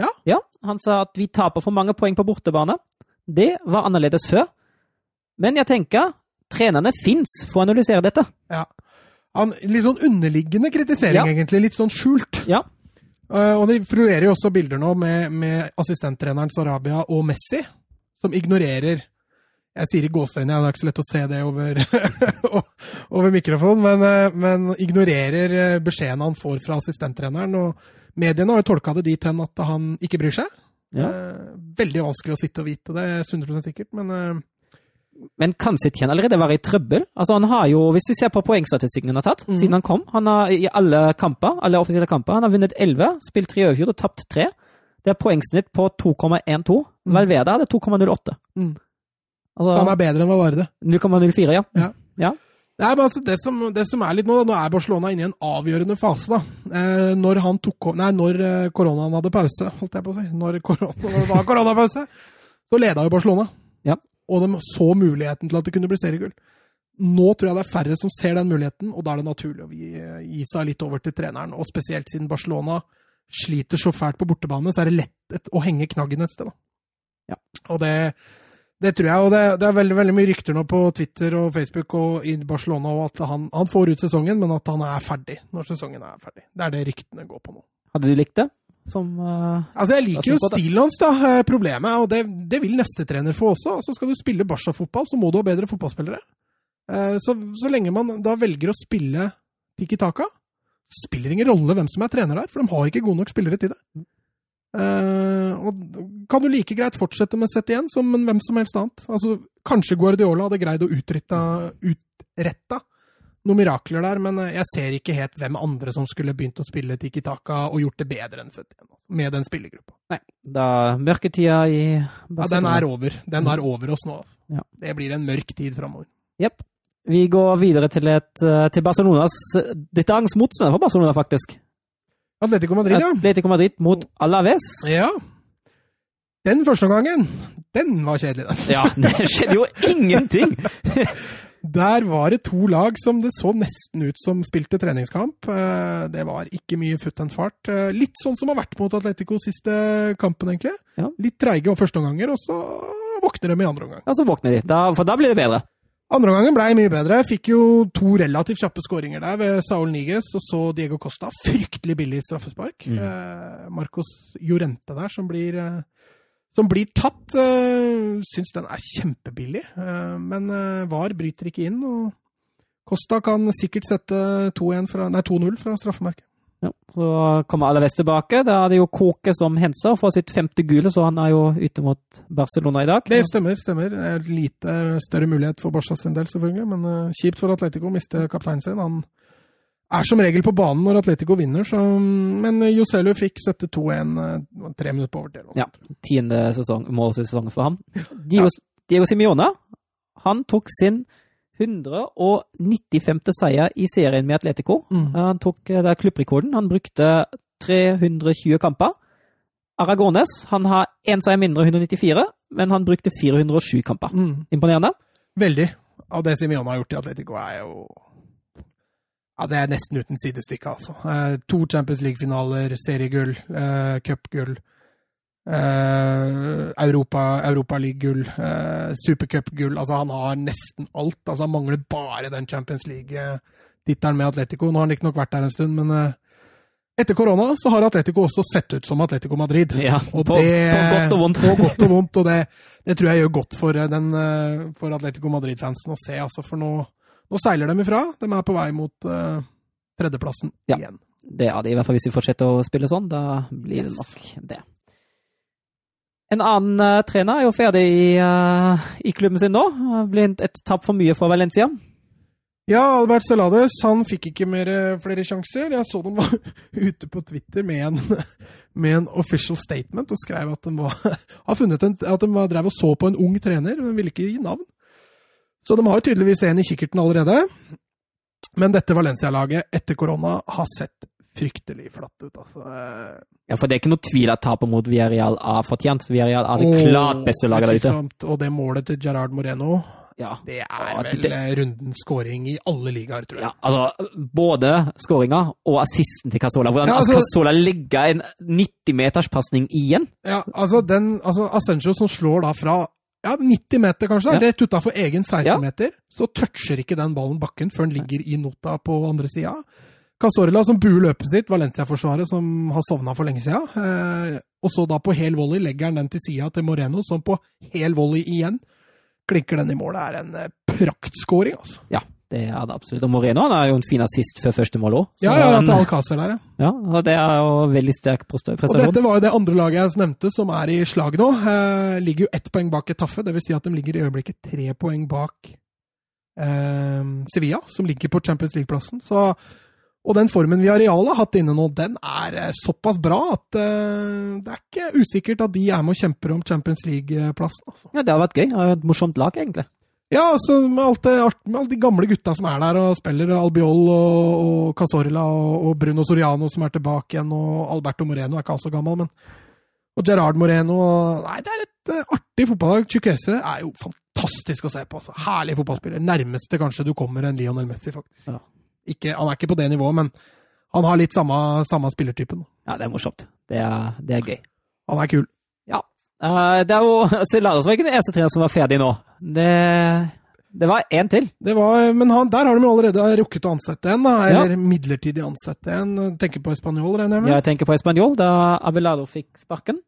A: Ja.
B: Han sa at vi taper for mange poeng på bortebane. Det var annerledes før. Men jeg tenker trenerne fins for å analysere dette.
A: Ja. Han, litt sånn underliggende kritisering,
B: Ja.
A: egentlig. Litt sånn skjult.
B: Ja.
A: Eh, Og de florerer jo også bilder nå med, med assistenttreneren Sarabia og Messi, som ignorerer Jeg sier i gåseøynene, ja, det er ikke så lett å se det over, over mikrofonen, men, eh, men ignorerer eh, beskjeden han får fra assistenttreneren. Og mediene har jo tolka det dit hen at han ikke bryr seg.
B: Ja.
A: Eh, Veldig vanskelig å sitte og vite det, 100 sikkert, men eh,
B: Men kan Setien allerede være i trøbbel? Altså han har jo, Hvis vi ser på poengstatistikken han har tatt
A: Mhm.
B: siden han kom han har I alle kamper, alle offisielle kamper han har vunnet 11, spilt 3 overfjord og tapt 3. Det er poengsnitt på 2,12.
A: Mhm.
B: Valverde hadde 2,08.
A: Mhm. han
B: Altså
A: er bedre enn Valvarde.
B: 0,04, ja.
A: Nei, men altså det som, det som er litt nå, da, nå er Barcelona inne i en avgjørende fase. da. Eh, når han tok, o- nei, når eh, koronaen hadde pause, holdt jeg på å si, når, korona, når det var koronapause, så leda jo Barcelona.
B: Ja.
A: Og de så muligheten til at det kunne bli seriegull. Nå tror jeg det er færre som ser den muligheten, og da er det naturlig å gi, gi seg litt over til treneren. Og spesielt siden Barcelona sliter så fælt på bortebane, så er det lett et, å henge knaggen et sted. da. Og det, Det tror jeg, og det, det er veldig, veldig mye rykter nå på Twitter og Facebook og i Barcelona og at han, han får ut sesongen, men at han er ferdig når sesongen er ferdig. Det er det ryktene går på nå.
B: Hadde du likt det? Som eh,
A: Altså, Jeg liker jo
B: Jeg synes på det.
A: stilen hans, da. eh, Problemet er, og det, det vil neste trener få også, altså skal du spille Barca-fotball, så må du ha bedre fotballspillere. Eh, Så, så lenge man da velger å spille Tiki Taka, spiller ingen rolle hvem som er trener der, for de har ikke gode nok spillere til det. Eh, og kan du like greit fortsette med sett igjen som en hvem som helst annet? Altså, Kanskje Guardiola hadde greid å utretta, utretta noen mirakler der, men eh, jeg ser ikke helt hvem andre som skulle begynt å spille Tiki Taka og gjort det bedre enn sett igjen, med den spillergruppa.
B: Nei, da mørketida i
A: Ja, den er over. Den er over oss nå. altså.
B: Ja.
A: Det blir en mørk tid framover.
B: Jepp. Vi går videre til, et, eh, til Barcelonas eh, Dette er hans motstander for Barcelona, faktisk.
A: Atletico Madrid, ja.
B: Atletico Madrid mot Alaves.
A: ja. Den første omgangen, den var kjedelig, den.
B: Ja, det skjedde jo ingenting!
A: Der var det to lag som det så nesten ut som spilte treningskamp. Eh, Det var ikke mye futt and fart. Eh, Litt sånn som har vært mot Atletico siste kampen, egentlig.
B: Ja.
A: Litt treige førsteomganger, og så våkner de i andre omgang.
B: Ja, så våkner de, da, for da blir det bedre.
A: Andre omgangen blei mye bedre. Fikk jo to relativt kjappe skåringer der ved Saul Niges og så Diego Costa. Fryktelig billig straffespark.
B: Mm.
A: Eh, Marcos Jorente der, som blir, eh, som blir tatt, eh, syns den er kjempebillig. Eh, men eh, VAR bryter ikke inn. og Costa kan sikkert sette 2-1 fra- nei, 2-0 fra, straffemerket.
B: Ja, så kommer Alaves tilbake. Da er det jo Kåke som henser og får sitt femte gule, så han er jo ute mot Barcelona i dag.
A: Det stemmer. stemmer. Det er Lite større mulighet for Barca sin del, selvfølgelig. Men eh, kjipt for Atletico å miste kapteinen sin. Han er som regel på banen når Atletico vinner, så, mm, men Joselu fikk sette 2-1 eh, tre minutter på overtid.
B: Ja. Tiende sesong, målsesong for ham. Diego, Diego Simione han tok sin 195. seier i serien med Atletico.
A: Mm.
B: Han tok eh, det er klubbrekorden. Han brukte 320 kamper. Aragones han har én seier mindre, 194, men han brukte 407 kamper.
A: Mm.
B: Imponerende.
A: Veldig. Og det Simione har gjort i Atletico, er jo Ja, det er nesten uten sidestykke, altså. Eh, to Champions League-finaler, seriegull, eh, cupgull. Eh, Europa, Europa League-gull, eh, supercupgull. Altså, han har nesten alt. Altså, han mangler bare den Champions League-tittelen med Atletico. Nå har han riktignok vært der en stund, men eh, etter korona så har Atletico også sett ut som Atletico Madrid.
B: Ja,
A: Og
B: på,
A: det-
B: på godt og vondt.
A: På godt og vondt, og det, det tror jeg gjør godt for, eh, den, eh, for Atletico Madrid-fansen å se, altså, for nå, nå seiler de ifra. De er på vei mot eh, tredjeplassen
B: Ja.
A: igjen.
B: Det er det, i hvert fall hvis vi fortsetter å spille sånn. Da blir det nok det. En annen eh, trener er jo ferdig i, eh, i klubben sin nå. Det blir et tap for mye for Valencia.
A: Ja, Albert Celades han fikk ikke mer, eh, flere sjanser. Jeg så de var ute på Twitter med en, med en official statement og skrev at de, var, har funnet en, at de var, drev og så på en ung trener, men ville ikke gi navn. Så de har jo tydeligvis en i kikkerten allerede. Men dette Valencia-laget etter korona har sett fryktelig flatt ut. altså. Eh,
B: Ja, For det er ikke noe tvil at tapet mot Villarreal er fortjent. Villarreal er det
A: og-
B: klart beste laget der ute.
A: Utvilsomt. Og det målet til Gerard Moreno,
B: Ja.
A: det
B: Ja,
A: er
B: det-
A: vel eh, rundens scoring i alle ligaer, tror jeg.
B: Ja, altså, både skåringa og assisten til Casola. Hvordan
A: Ja,
B: ja,
A: altså-
B: Casola legger en 90-meterspasning igjen?
A: Ja, altså den altså Asensio som slår da fra ja, 90 meter, kanskje, da, rett utafor egen 16-meter, så toucher ikke den ballen bakken før den ligger i nota på andre sida. Casorla som buer løpet sitt, Valencia-forsvaret som har sovna for lenge sida. Eh, og så da på hel volley legger han den til sida til Moreno, som på hel volley igjen klinker den i mål. Det er en eh, praktskåring, altså.
B: Ja, det er det absolutt. Og Moreno han er jo en fin assist før første mål òg.
A: Ja, ja, ja, til Alcázar der, ja.
B: ja, og det er jo veldig sterk presta-
A: Og
B: prestasjon.
A: dette var jo det andre laget jeg nevnte, som er i slag nå. Eh, ligger jo ett poeng bak Etafe, dvs. Si at de ligger i øyeblikket tre poeng bak eh, Sevilla, som ligger på Champions League-plassen. Så, og den formen vi Areal har hatt inne nå, den er eh, såpass bra at eh, det er ikke usikkert at de er med og kjemper om Champions League-plassen. Altså.
B: Ja, det har vært gøy. Det er jo Et morsomt lag, egentlig.
A: Ja, altså med, alt det, art- med alle de gamle gutta som er der og spiller, og Albiol og, og Casorla og, og Bruno Soriano som er tilbake igjen, og Alberto Moreno er ikke så gammel, men Og Gerard Moreno og Nei, det er et eh, artig fotballag. Chukwese er jo fantastisk å se på. Altså. Herlig fotballspiller. Nærmeste kanskje du kommer en Lionel Messi, faktisk.
B: Ja.
A: Ikke, han er ikke på det nivået, men han har litt samme, samme spillertypen.
B: Ja, det er morsomt. Det er, det er gøy.
A: Han er kul.
B: Eh, det er jo Celaros var ikke den eneste treneren som var ferdig nå. Det, det var én til.
A: Det var, men han, der har de jo allerede rukket å ansette en, da, eller midlertidig ansette en. Tenker på spanjol, regner jeg med.
B: Jeg tenker på Español, da Abelardo fikk sparken.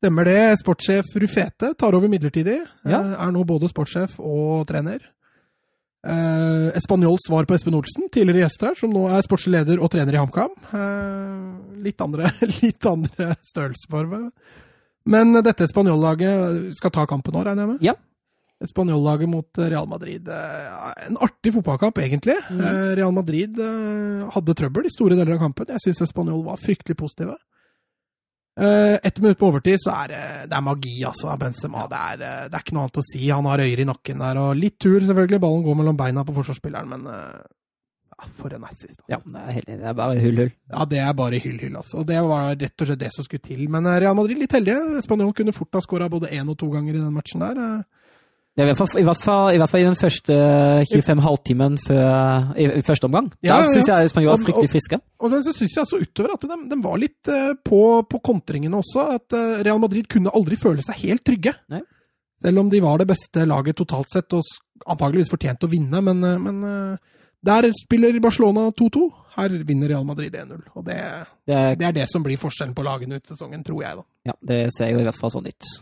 A: Stemmer det. Sportssjef Rufete tar over midlertidig.
B: Ja.
A: Eh, Er nå både sportssjef og trener. Eh, Espanjols svar på Espen Olsen, tidligere gjest her, som nå er sportslig leder og trener i HamKam. Eh, litt andre, litt andre størrelsesformer. Men dette spanjollaget skal ta kampen nå, regner jeg med?
B: Ja.
A: Spanjollaget mot Real Madrid. eh, En artig fotballkamp, egentlig.
B: Mhm.
A: Eh, Real Madrid eh, hadde trøbbel i store deler av kampen. Jeg syns Spanjol var fryktelig positive. Eh, Ett minutt på overtid, så er det, det er magi, altså. Benzema. Det er, eh, det er ikke noe annet å si. Han har øyer i nakken der, og litt tur, selvfølgelig. Ballen går mellom beina på forsvarsspilleren, men eh, ja, for en assist. altså.
B: Ja, det er, helt, det er bare hull, hull.
A: Ja, det er bare hyll, hyll, altså. Og det var rett og slett det som skulle til. Men eh, Real Madrid litt heldige. Spanjol kunne fort ha skåra både én og to ganger i den matchen der. eh.
B: Ja, i, hvert fall, i, hvert fall, I hvert fall i den første 25 halvtimen før, i, i første omgang.
A: Ja, ja,
B: Da syns jeg Spanjol
A: Og-
B: er fryktelig friske.
A: Og men så syns jeg altså utover at de, de var litt eh, på, på kontringene også. At eh, Real Madrid kunne aldri føle seg helt trygge.
B: Nei.
A: Selv om de var det beste laget totalt sett, og s- antageligvis fortjente å vinne. Men, eh, men eh, der spiller Barcelona 2-2. Her vinner Real Madrid 1-0. Og det,
B: Det, er-
A: det er det som blir forskjellen på lagene ut sesongen, tror jeg, da.
B: ja, det ser jo i hvert fall sånn ut.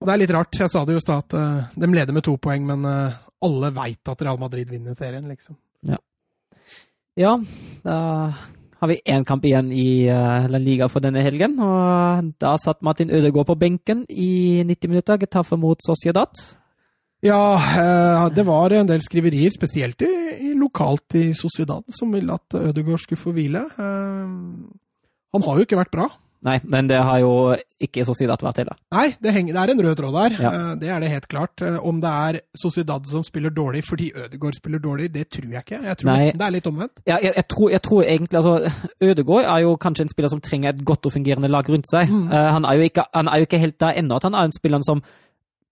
A: Og det er litt rart. Jeg sa det jo i stad, at eh, de leder med to poeng, men eh, alle veit at Real Madrid vinner serien, liksom.
B: Ja, da har vi én kamp igjen i eh, La Liga for denne helgen. Og da satt Martin Ødegaard på benken i 90 minutter. Getafe mot Sociedad.
A: Ja, eh, det var en del skriverier, spesielt i, i lokalt i Sociedad, som ville at Ødegaard skulle få hvile. Eh, Han har jo ikke vært bra.
B: Nei, men det har jo ikke Sociedad vært heller.
A: Nei, det, henger, det er en rød tråd der.
B: Ja.
A: Eh, Det er det helt klart. Eh, Om det er Sociedad som spiller dårlig fordi Ødegaard spiller dårlig, det tror jeg ikke. Jeg tror
B: Nei.
A: nesten det er litt omvendt.
B: Ja, jeg, jeg, tror, jeg tror egentlig altså, Ødegaard er jo kanskje en spiller som trenger et godt og fungerende lag rundt seg.
A: Mm.
B: Eh, han, er jo ikke, han er jo ikke helt der ennå at han er en spiller som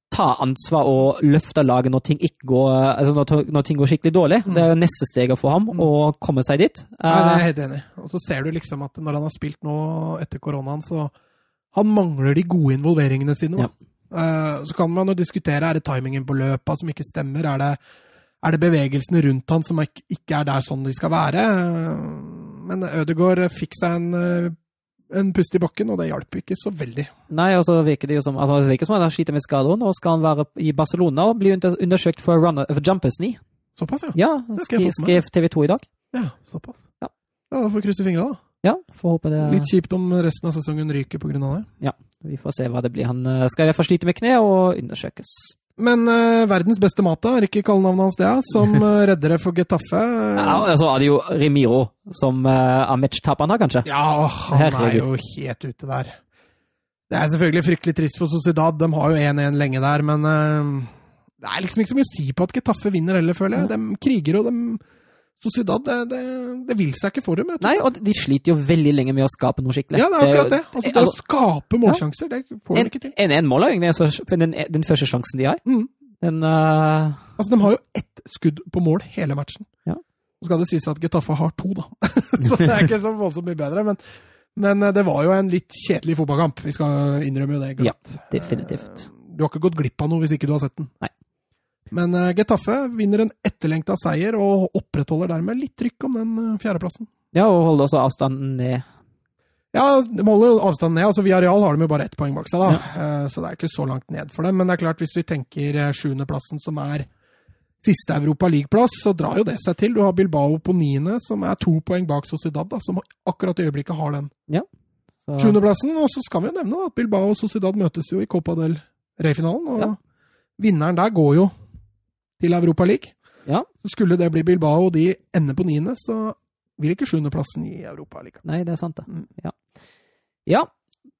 B: tar ansvar og løfter laget når ting, ikke går, altså når, når ting går skikkelig dårlig.
A: Mm.
B: Det er jo neste steget for ham,
A: Mm.
B: å komme seg dit. Eh,
A: Nei, det er jeg helt enig i. Og så ser du liksom at når han har spilt nå etter koronaen, så han mangler de gode involveringene sine. da. Eh, Så kan man jo diskutere er det timingen på løpa som ikke stemmer, er det, er det bevegelsene rundt han som ikke ikke er der sånn de skal være. Eh, Men Ødegaard fikk seg en, eh, en pust i bakken, og det hjalp ikke så veldig.
B: Nei, og så virker det jo som altså, det virker som han har slitt med skader. Nå skal han være i Barcelona og bli under- undersøkt for, runner, for jumpers knee.
A: Såpass, ja.
B: Ja,
A: Det skal
B: skrev,
A: jeg få med.
B: skrev TV 2 i dag.
A: Ja, såpass.
B: Ja.
A: Ja, Da får vi krysse fingra, da.
B: Ja, får håpe det
A: Litt kjipt om resten av sesongen ryker pga. det.
B: Vi får se hva det blir. Han eh, skal i hvert fall slite med kne og undersøkes.
A: Men eh, verdens beste Mata, er ikke kallenavnet hans det, ja, som eh, reddere for Getafe.
B: Ja, og så er det jo Remiro som eh, er matchtaperen her, kanskje.
A: Ja, han er
B: Herregud.
A: jo helt ute der. Det er selvfølgelig fryktelig trist for Sociedad. De har jo 1-1 lenge der, men eh, det er liksom ikke så mye å si på at Getafe vinner heller, føler jeg. De kriger, og de Sociedad, det, det, det vil seg ikke for dem, rett og slett.
B: Nei, og de sliter jo veldig lenge med å skape noe skikkelig.
A: Ja, det er akkurat det. Altså, det å
B: altså-
A: skape målsjanser, det får de ikke til.
B: En 1-mål er jo egentlig den første- for den, den første sjansen de har.
A: Mm.
B: Den, eh,
A: Altså, de har jo ett skudd på mål hele matchen.
B: Ja.
A: Så skal det sies at Getafe har to, da. så det er ikke så voldsomt mye bedre. Men, men eh, det var jo en litt kjedelig fotballkamp. Vi skal innrømme jo det. glatt.
B: Ja, definitivt.
A: Eh, Du har ikke gått glipp av noe hvis ikke du har sett den.
B: Nei.
A: Men eh, Getafe vinner en etterlengta seier og opprettholder dermed litt trykk om den eh, fjerdeplassen.
B: ja, og holder også avstanden ned.
A: Ja, de holder jo avstanden ned. altså Viareal har de jo bare ett poeng bak seg, da. Eh, Så det er ikke så langt ned for dem. Men det er klart, hvis vi tenker eh, sjuendeplassen, som er siste Europa League-plass, så drar jo det seg til. Du har Bilbao på niende, som er to poeng bak Sociedad, da, som akkurat i øyeblikket har den
B: Så-
A: sjuendeplassen. Og så skal vi jo nevne da, at Bilbao og Sociedad møtes jo i Copa del Rey-finalen. Og
B: Ja.
A: vinneren der går jo til Europa League.
B: Ja.
A: Så skulle det bli Bilbao og de ender på niende, så vil ikke sjuendeplassen i Europa League.
B: Nei, det er sant, det.
A: Mm.
B: Ja. ja,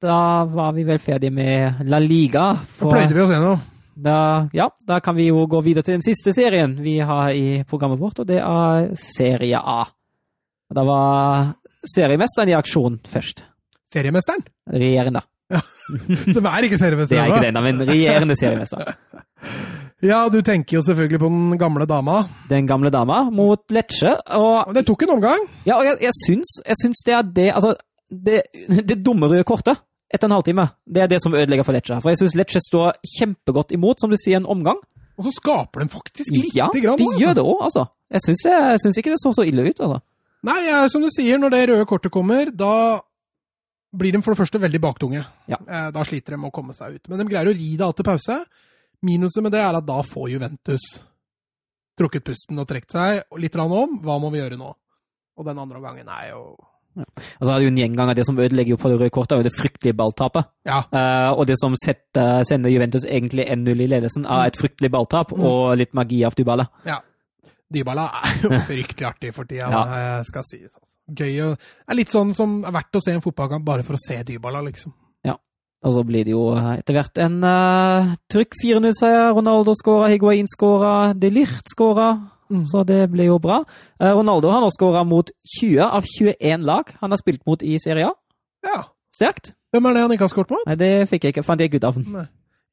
B: da var vi vel ferdige med La Liga.
A: Da
B: for-
A: pløyde vi oss gjennom.
B: da, ja, da kan vi jo gå videre til den siste serien vi har i programmet vårt, og det er Serie A. Og Da var seriemesteren i aksjon først.
A: Seriemesteren?
B: Regjerende.
A: De er ikke seriemestere.
B: Det er
A: da.
B: ikke det ennå, men regjerende seriemester.
A: Ja, du tenker jo selvfølgelig på den gamle dama.
B: Den gamle dama mot Lecce. Og,
A: Og Det tok en omgang.
B: ja, og jeg, jeg, syns, jeg syns det er det Altså, det, det dumme røde kortet etter en halvtime. Det er det som ødelegger for Lecce. For jeg syns Lecce står kjempegodt imot, som du sier, en omgang.
A: Og så skaper de faktisk lite
B: Ja,
A: grann.
B: de
A: altså.
B: gjør det òg, altså. Jeg syns, det, jeg syns ikke det så så ille ut, altså.
A: Nei, jeg- som du sier, når det røde kortet kommer, da blir de for det første veldig baktunge.
B: Ja.
A: Eh, Da sliter de med å komme seg ut. Men de greier å ri det av til pause. Minuset med det er at da får Juventus trukket pusten og trukket seg og litt grann om. Hva må vi gjøre nå? Og den andre omgangen er jo
B: Altså, det er jo en gjenganger. Det som ødelegger jo på det røde kortet, er jo det fryktelige balltapet.
A: Ja.
B: Eh, og det som setter, sender Juventus egentlig 1-0 i ledelsen, er et fryktelig balltap
A: Mm.
B: og litt magi av Dybala.
A: Dybala er jo fryktelig artig for tida,
B: Ja.
A: det skal sies. Gøy å Det er litt sånn som er verdt å se en fotballkamp bare for å se Dybala, liksom.
B: Og så blir det jo etter hvert en eh, trykk 4-0-seier. Ronaldo skåra, Higuain skåra, de Ligt skåra.
A: Mm.
B: Så det ble jo bra. Eh, Ronaldo har nå skåra mot 20 av 21 lag han har spilt mot i Serie A.
A: Ja.
B: Sterkt.
A: Hvem er det han ikke har skåret mot?
B: Nei, det fikk jeg ikke, fant jeg ikke ut av.
A: Nei.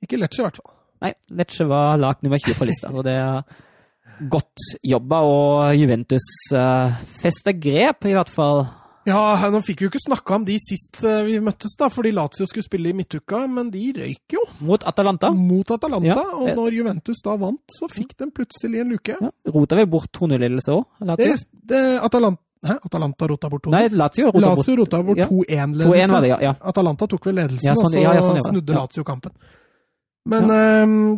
A: Ikke Lecce, i hvert fall.
B: Nei, Lecce var lag nummer 20 på lista, og det er godt jobba. Og Juventus uh, fester grep, i hvert fall.
A: Ja, nå fikk vi jo ikke snakka om de sist eh, vi møttes, da, fordi Lazio skulle spille i midtuka, men de røyk jo
B: Mot Atalanta.
A: mot Atalanta.
B: Ja.
A: Og når Juventus da vant, så fikk de plutselig en luke.
B: Ja, rota vel bort 2-0-ledelse
A: Det,
B: òg?
A: det, Atalanta, hæ? Atalanta rota bort to.
B: Nei, Lazio rota bort
A: Lazio rota bort
B: Ja. 2-1, var
A: 2-1-ledelse.
B: det, ja. ja.
A: Atalanta tok vel ledelsen,
B: Ja, sånn-
A: og så
B: ja, ja, sånn gjør det.
A: snudde
B: Ja.
A: Lazio kampen. Men ehm,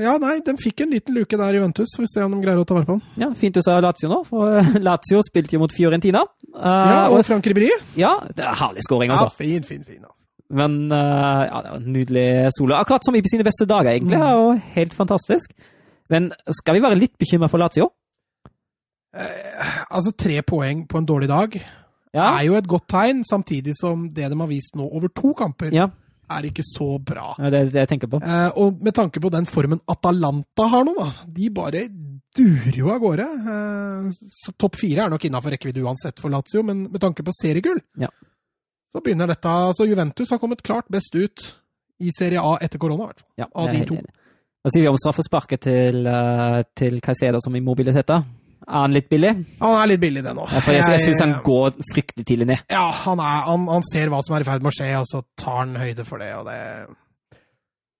A: ja, nei, de fikk en liten luke der, Juventus. Får vi se om de greier å ta vare på den.
B: Ja, Fint du sa Lazio nå, for eh, Lazio spilte jo mot Fiorentina. Eh,
A: Ja,
B: og,
A: og Frank Ribéry.
B: ja, det er herlig scoring,
A: Ja,
B: altså.
A: fin, fin, fin. altså.
B: Men eh, ja, det var en nydelig solo. Akkurat som i sine beste dager, egentlig.
A: Mm.
B: Og helt fantastisk. Men skal vi være litt bekymra for Lazio?
A: Eh, altså, tre poeng på en dårlig dag.
B: Ja.
A: er jo et godt tegn, samtidig som det de har vist nå over to kamper,
B: ja.
A: er ikke så bra.
B: Det er det jeg tenker på.
A: Eh, og med tanke på den formen Atalanta har nå, da. De bare durer jo av gårde. Eh, så topp fire er nok innafor rekkevidde uansett for Lazio, men med tanke på seriegull,
B: Ja.
A: så begynner dette Altså, Juventus har kommet klart best ut i Serie A etter korona, i hvert fall.
B: Ja,
A: Av
B: jeg er
A: de to.
B: helt enig. Hva sier vi om straffesparket til, eh, til Caicedo som Immobile setter? Er han litt billig?
A: Han er litt billig, det nå. Eh,
B: Ja, for jeg, jeg syns han går fryktelig tidlig ned.
A: Ja, han, er, han, han ser hva som er i ferd med å skje, og så tar han høyde for det, og det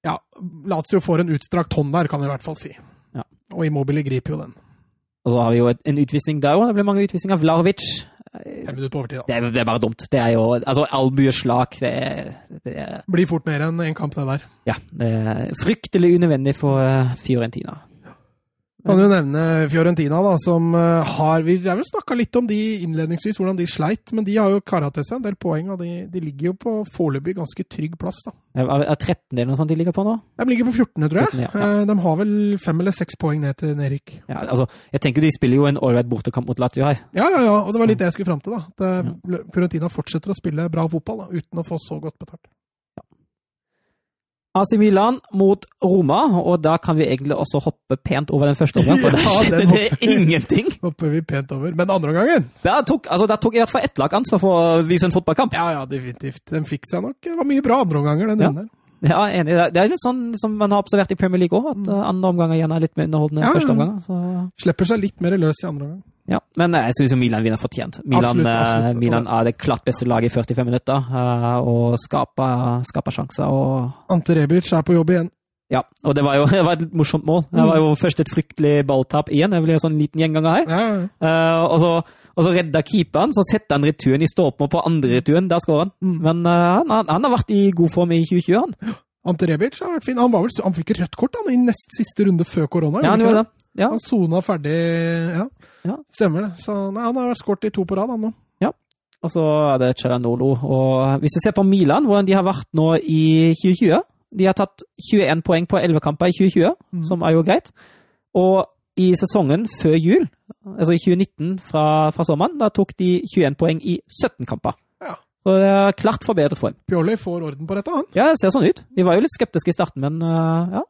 A: Ja, Lazio får en utstrakt hånd der, kan vi i hvert fall si.
B: Ja.
A: Og Immobile griper jo den.
B: Og så har vi jo et, en utvisning der òg. Det ble mange utvisninger. Vlahovic. Eh.
A: Fem minutter på overtid, da.
B: Det er, det er bare dumt. Det er jo Altså, albueslag, det er, det er
A: Blir fort mer enn én kamp, det der.
B: Ja, det er fryktelig unødvendig for eh, Fiorentina.
A: Kan jo nevne Fiorentina, da, som eh, har Vi har vel snakka litt om de innledningsvis, hvordan de sleit, men de har jo kara til seg en del poeng, og de, de ligger jo på foreløpig ganske trygg plass, da.
B: Er er 13 eller noe sånt de ligger på nå?
A: De ligger på 14., tror jeg.
B: 14., ja.
A: Eh, De har vel fem eller seks poeng ned til Nerik.
B: Ja, altså, jeg tenker jo de spiller jo en ålreit bortekamp mot Lazio her.
A: Ja, ja, ja. Og det var litt det jeg skulle fram til. da. At eh, Fiorentina fortsetter å spille bra fotball da, uten å få så godt betalt.
B: AC Milan mot Roma, og da kan vi egentlig også hoppe pent over den første omgangen, for
A: Ja,
B: der
A: den
B: skjedde det ingenting!
A: Hopper vi pent over. Men andre gangen?
B: Der tok, altså, der tok i hvert fall ett lag ansvar for å vise en fotballkamp.
A: Ja, ja, definitivt. Den fikk seg nok. Det var mye bra andreomganger, den
B: Ja.
A: runden.
B: Ja, jeg er enig. Det er- Det er litt sånn som man har observert i Premier League òg, at eh, andre omganger gjerne er litt mer underholdende
A: Mm.
B: enn
A: Ja, ja.
B: første omganger. Så,
A: Slipper seg litt mer løs i andre omgang.
B: ja. Men eh, jeg syns jo Milan vinner fortjent. Milan,
A: Absolutt, absolutt.
B: eh, Milan er det klart beste laget i 45 minutter, eh, og skaper, skaper sjanser. og
A: Ante Rebic er på jobb igjen.
B: Ja, og det var jo det var et morsomt mål. Det var jo først et fryktelig balltap igjen. Det ble jo sånn liten gjenganger her.
A: Ja, ja.
B: Eh, og, så, og så redda keeperen, så setter han returen i ståpen, og på andre returen, der skårer han.
A: Mm.
B: Men eh, han, han, han har vært i god form i 2020, han.
A: Ante Rebic har vært fin. Han, var vel, han fikk rødt kort han, i nest siste runde før korona.
B: Ja, han gjorde det. Ja.
A: Han sona ferdig ja.
B: Ja.
A: Stemmer det. Så nei, han har skåret i to på rad, han nå.
B: Og så er det Celanolo. Og eh, hvis du ser på Milan, hvordan de har vært nå i 2020 De har tatt 21 poeng på 11 kamper i 2020,
A: Mhm.
B: som er jo greit. Og i sesongen før jul, altså i 2019 fra, fra sommeren, da tok de 21 poeng i 17 kamper.
A: Ja.
B: Så det er klart forbedret form.
A: Pjolli får orden på dette, han.
B: Ja, det ser sånn ut. Vi var jo litt skeptiske i starten, men øh, ja.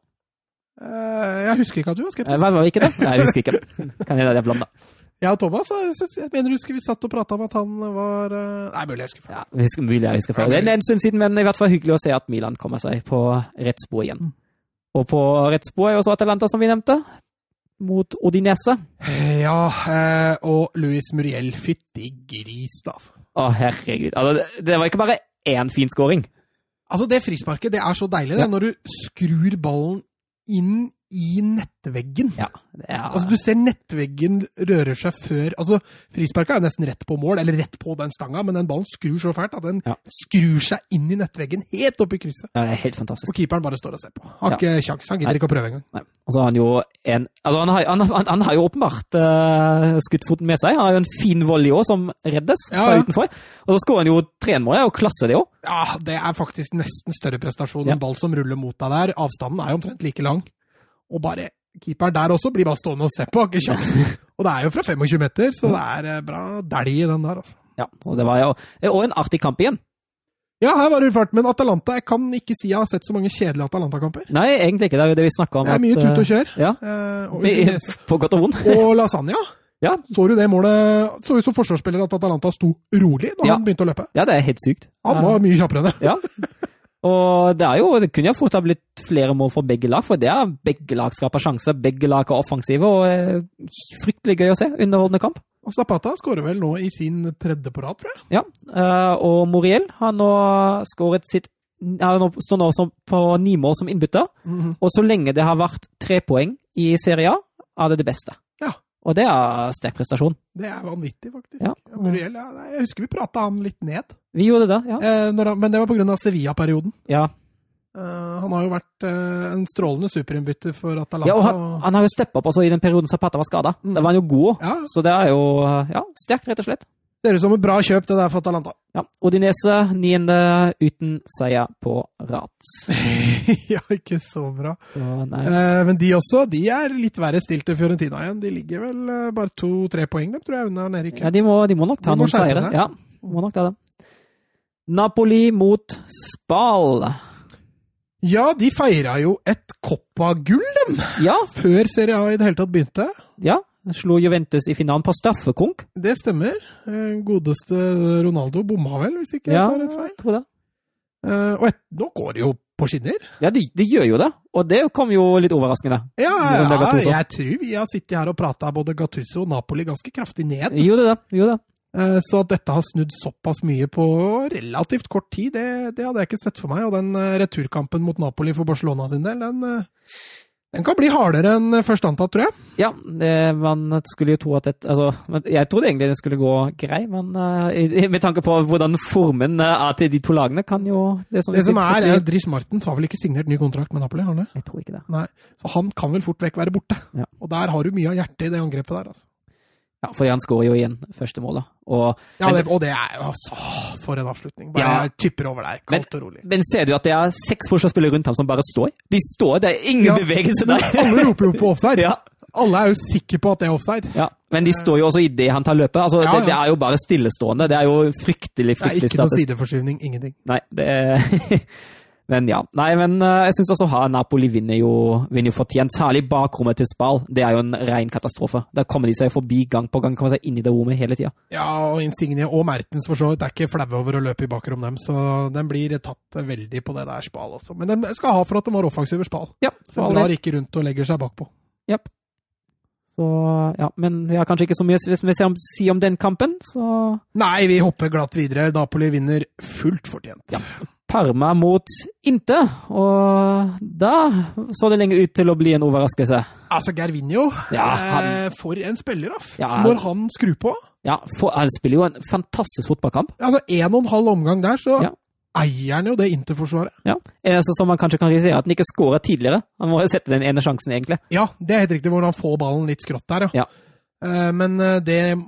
A: Eh, Jeg husker ikke at du var skeptisk.
B: Hva var vi ikke det? Nei, jeg husker ikke. Kan jeg det blanda?
A: Jeg og Thomas, jeg, synes, jeg mener du husker vi satt og prata om at han var eh, Nei, mulig jeg husker feil.
B: Ja, vi husker, mulig jeg husker feil. Det er en stund siden, men i hvert fall hyggelig å se at Milan kommer seg på rett spor igjen.
A: Mm.
B: Og på rett spor er jo også Atalanta, som vi nevnte, mot Odinese.
A: Ja, eh, og Louis Muriel, fytti gris, da.
B: Å, herregud. Altså, det- det var ikke bare én fin scoring.
A: Altså, det frisparket, det er så deilig,
B: Ja.
A: det, når du skrur ballen inn i nettveggen.
B: Ja, det er,
A: Altså, du ser nettveggen rører seg før Altså, frisparket er jo nesten rett på mål, eller rett på den stanga, men den ballen skrur så fælt at den
B: Ja.
A: skrur seg inn i nettveggen, helt opp i krysset.
B: ja, det er helt fantastisk.
A: Og keeperen bare står og ser på. Har ikke kjangs. Han
B: Nei.
A: gidder ikke å prøve engang.
B: Nei. Og så har han jo en Altså, han har, han, han, han har jo åpenbart eh, skutt foten med seg. Han har jo en fin volley òg, som reddes
A: Ja,
B: fra
A: ja.
B: utenfor. Og så skårer han jo tremålet, og klasse det òg.
A: Ja, det er faktisk nesten større prestasjon
B: Ja.
A: enn ball som ruller mot deg der. Avstanden er jo omtrent like lang. Og bare keeperen der også blir bare stående og se på, har ikke kjangs. Og det er jo fra 25 meter, så det er eh, bra dælj i den der, altså.
B: Ja, og det var jo Og en artig kamp igjen.
A: Ja, her var det fart, men Atalanta Jeg kan ikke si jeg har sett så mange kjedelige Atalanta-kamper.
B: Nei, egentlig ikke. Det er jo det vi snakka om.
A: Det er mye tut og kjør.
B: eh, ja.
A: Eh, og Udinese.
B: På godt og vondt.
A: Og Lasagna.
B: Ja.
A: Så du det målet? Så ut som forsvarsspiller at Atalanta sto rolig når
B: Ja.
A: han begynte å løpe.
B: Ja, det er helt sykt.
A: Han var mye kjappere enn det.
B: Ja. Og det er jo, det kunne jo fort ha blitt flere mål for begge lag, for det er begge lag skaper sjanser, begge lag er offensive, og eh, fryktelig gøy å se. Underholdende kamp.
A: Og Zapata skårer vel nå i sin tredje på rad, tror jeg.
B: Ja, eh, og Moriel har nå skåret sitt han nå- står nå som på ni mål som innbytter. Og så lenge det har vært tre poeng i Serie A, er det det beste.
A: Ja.
B: Og det er sterk prestasjon.
A: Det er vanvittig, faktisk.
B: Ja.
A: Muriel, ja, nei, jeg husker vi prata han litt ned,
B: Vi gjorde det, ja.
A: eh, når han, men det var pga. Sevilla-perioden.
B: Ja,
A: Eh, han har jo vært eh, en strålende superinnbytter for Atalanta.
B: ja og han,
A: og-
B: han har jo steppa opp altså, i den perioden Zapata var skada.
A: Mm.
B: Da var han jo god òg.
A: ja,
B: Så det er jo eh, ja, sterkt, rett og slett.
A: ser ut som et bra kjøp, det der for Atalanta.
B: Ja. Odinese niende uten seier på rad.
A: ja, ikke så bra.
B: Så, nei.
A: Eh, men de også, de er litt verre stilt enn Fiorentina igjen. De ligger vel eh, bare to-tre poeng, dem, tror jeg, unna Nerik.
B: Ja, de må, de må nok ta
A: De må
B: noen
A: skjerpe seg.
B: seire. Ja, må nok ta det. Napoli mot Spal.
A: Ja, de feira jo et Coppa-gull
B: Ja,
A: før Serie A i det hele tatt begynte.
B: ja. Slo Juventus i finalen på straffekonk.
A: Det stemmer. Eh, Godeste Ronaldo bomma vel, hvis ikke
B: Ja,
A: jeg tar rett feil.
B: jeg tror det.
A: Eh, og et, nå går det jo på skinner.
B: Ja, de, de gjør jo det, og det kom jo litt overraskende.
A: Ja,
B: Hvordan det er Gattuso?
A: jeg tror vi har sittet her og prata både Gattuso og Napoli ganske kraftig ned.
B: Gjorde det, gjorde det.
A: Eh, så at dette har snudd såpass mye på relativt kort tid, det, det hadde jeg ikke sett for meg. Og den eh, returkampen mot Napoli for Barcelona sin del, den, eh, den kan bli hardere enn først antatt, tror jeg.
B: Ja, det, man skulle jo tro at et, altså, men Jeg trodde egentlig det skulle gå grei, men eh, i- med tanke på hvordan formen eh, er til de to lagene, kan jo det som,
A: Det som er, er
B: jeg,
A: Dries Martens har vel ikke signert ny kontrakt med Napoli, har han det?
B: jeg tror ikke det.
A: Nei. Så han kan vel fort vekk være borte.
B: Ja.
A: Og der har du mye av hjertet i det angrepet der, altså.
B: Ja, For han skårer jo igjen første målet. Og,
A: Ja,
B: men,
A: det, og det er jo altså For en avslutning. Bare
B: Ja.
A: jeg tipper over der, kaldt og rolig.
B: men ser du at det er seks forsvarsspillere rundt ham som bare står? De står, det er ingen
A: Ja.
B: bevegelse der!
A: Alle roper jo på offside.
B: Ja.
A: Alle er jo sikre på at det er offside.
B: Ja, men de står jo også idet han tar løpet. Altså,
A: Ja, ja.
B: Det, det er jo bare stillestående. Det er jo fryktelig,
A: Det er
B: fryktelig
A: ikke noe
B: statisk.
A: sideforskyvning. Ingenting.
B: Nei, det er... Men ja. Nei, men eh, jeg syns også ha Napoli vinner jo, vinner jo fortjent. Særlig bakrommet til Spal. Det er jo en ren katastrofe. Der kommer de seg forbi gang på gang. Kommer seg inn i det rommet hele tida.
A: Ja, og Insigne og Mertens for så vidt er ikke flaue over å løpe i bakrom dem, så den blir tatt veldig på det der spall også. Men den skal ha for at den var offensiv spall.
B: Ja, for
A: Den
B: all
A: drar
B: del.
A: ikke rundt og legger seg bakpå.
B: Japp. Så ja, men vi har kanskje ikke så mye hvis vi ser om, si om den kampen, så
A: Nei, vi hopper glatt videre. Napoli vinner fullt fortjent.
B: Parma mot Inte, og da så det lenge ut til å bli en overraskelse.
A: Altså, Gervinho
B: Ja, han-
A: eh, For en spiller, ass.
B: Ja.
A: Når han skrur på
B: Ja, for han spiller jo en fantastisk fotballkamp.
A: Altså, en og en halv omgang der, så
B: Ja.
A: eier han jo det Inter-forsvaret.
B: Ja. Eneste Eh, som man kanskje kan risikere, er at han ikke skårer tidligere. Han må jo sette den ene sjansen, egentlig.
A: Ja, det er helt riktig hvor han får ballen litt skrått der,
B: Ja.
A: Eh, men eh, det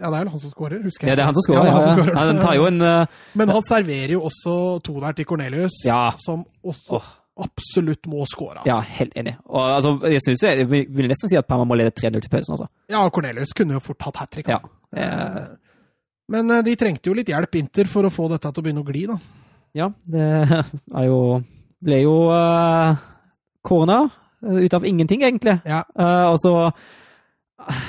A: Ja, det er vel han som skårer, husker jeg.
B: Ja, det er han som
A: Ja,
B: skårer.
A: det er han
B: Ja,
A: som
B: ja.
A: scorer.
B: Han tar jo en eh,
A: Men han serverer jo også to der til Cornelius,
B: Ja.
A: som også
B: Åh.
A: absolutt må skåre.
B: Ja,
A: Altså.
B: helt enig. Og altså, jeg, synes, jeg vil vil nesten si at Parma må lede 3-0 til pausen, altså.
A: Ja. Cornelius kunne jo fort hatt hat trick.
B: Ja. Eh,
A: Men eh, de trengte jo litt hjelp, Inter, for å få dette til å begynne å gli, da.
B: ja, det er jo Ble jo eh, corner eh, ut av ingenting, egentlig.
A: Ja.
B: Eh, og så eh,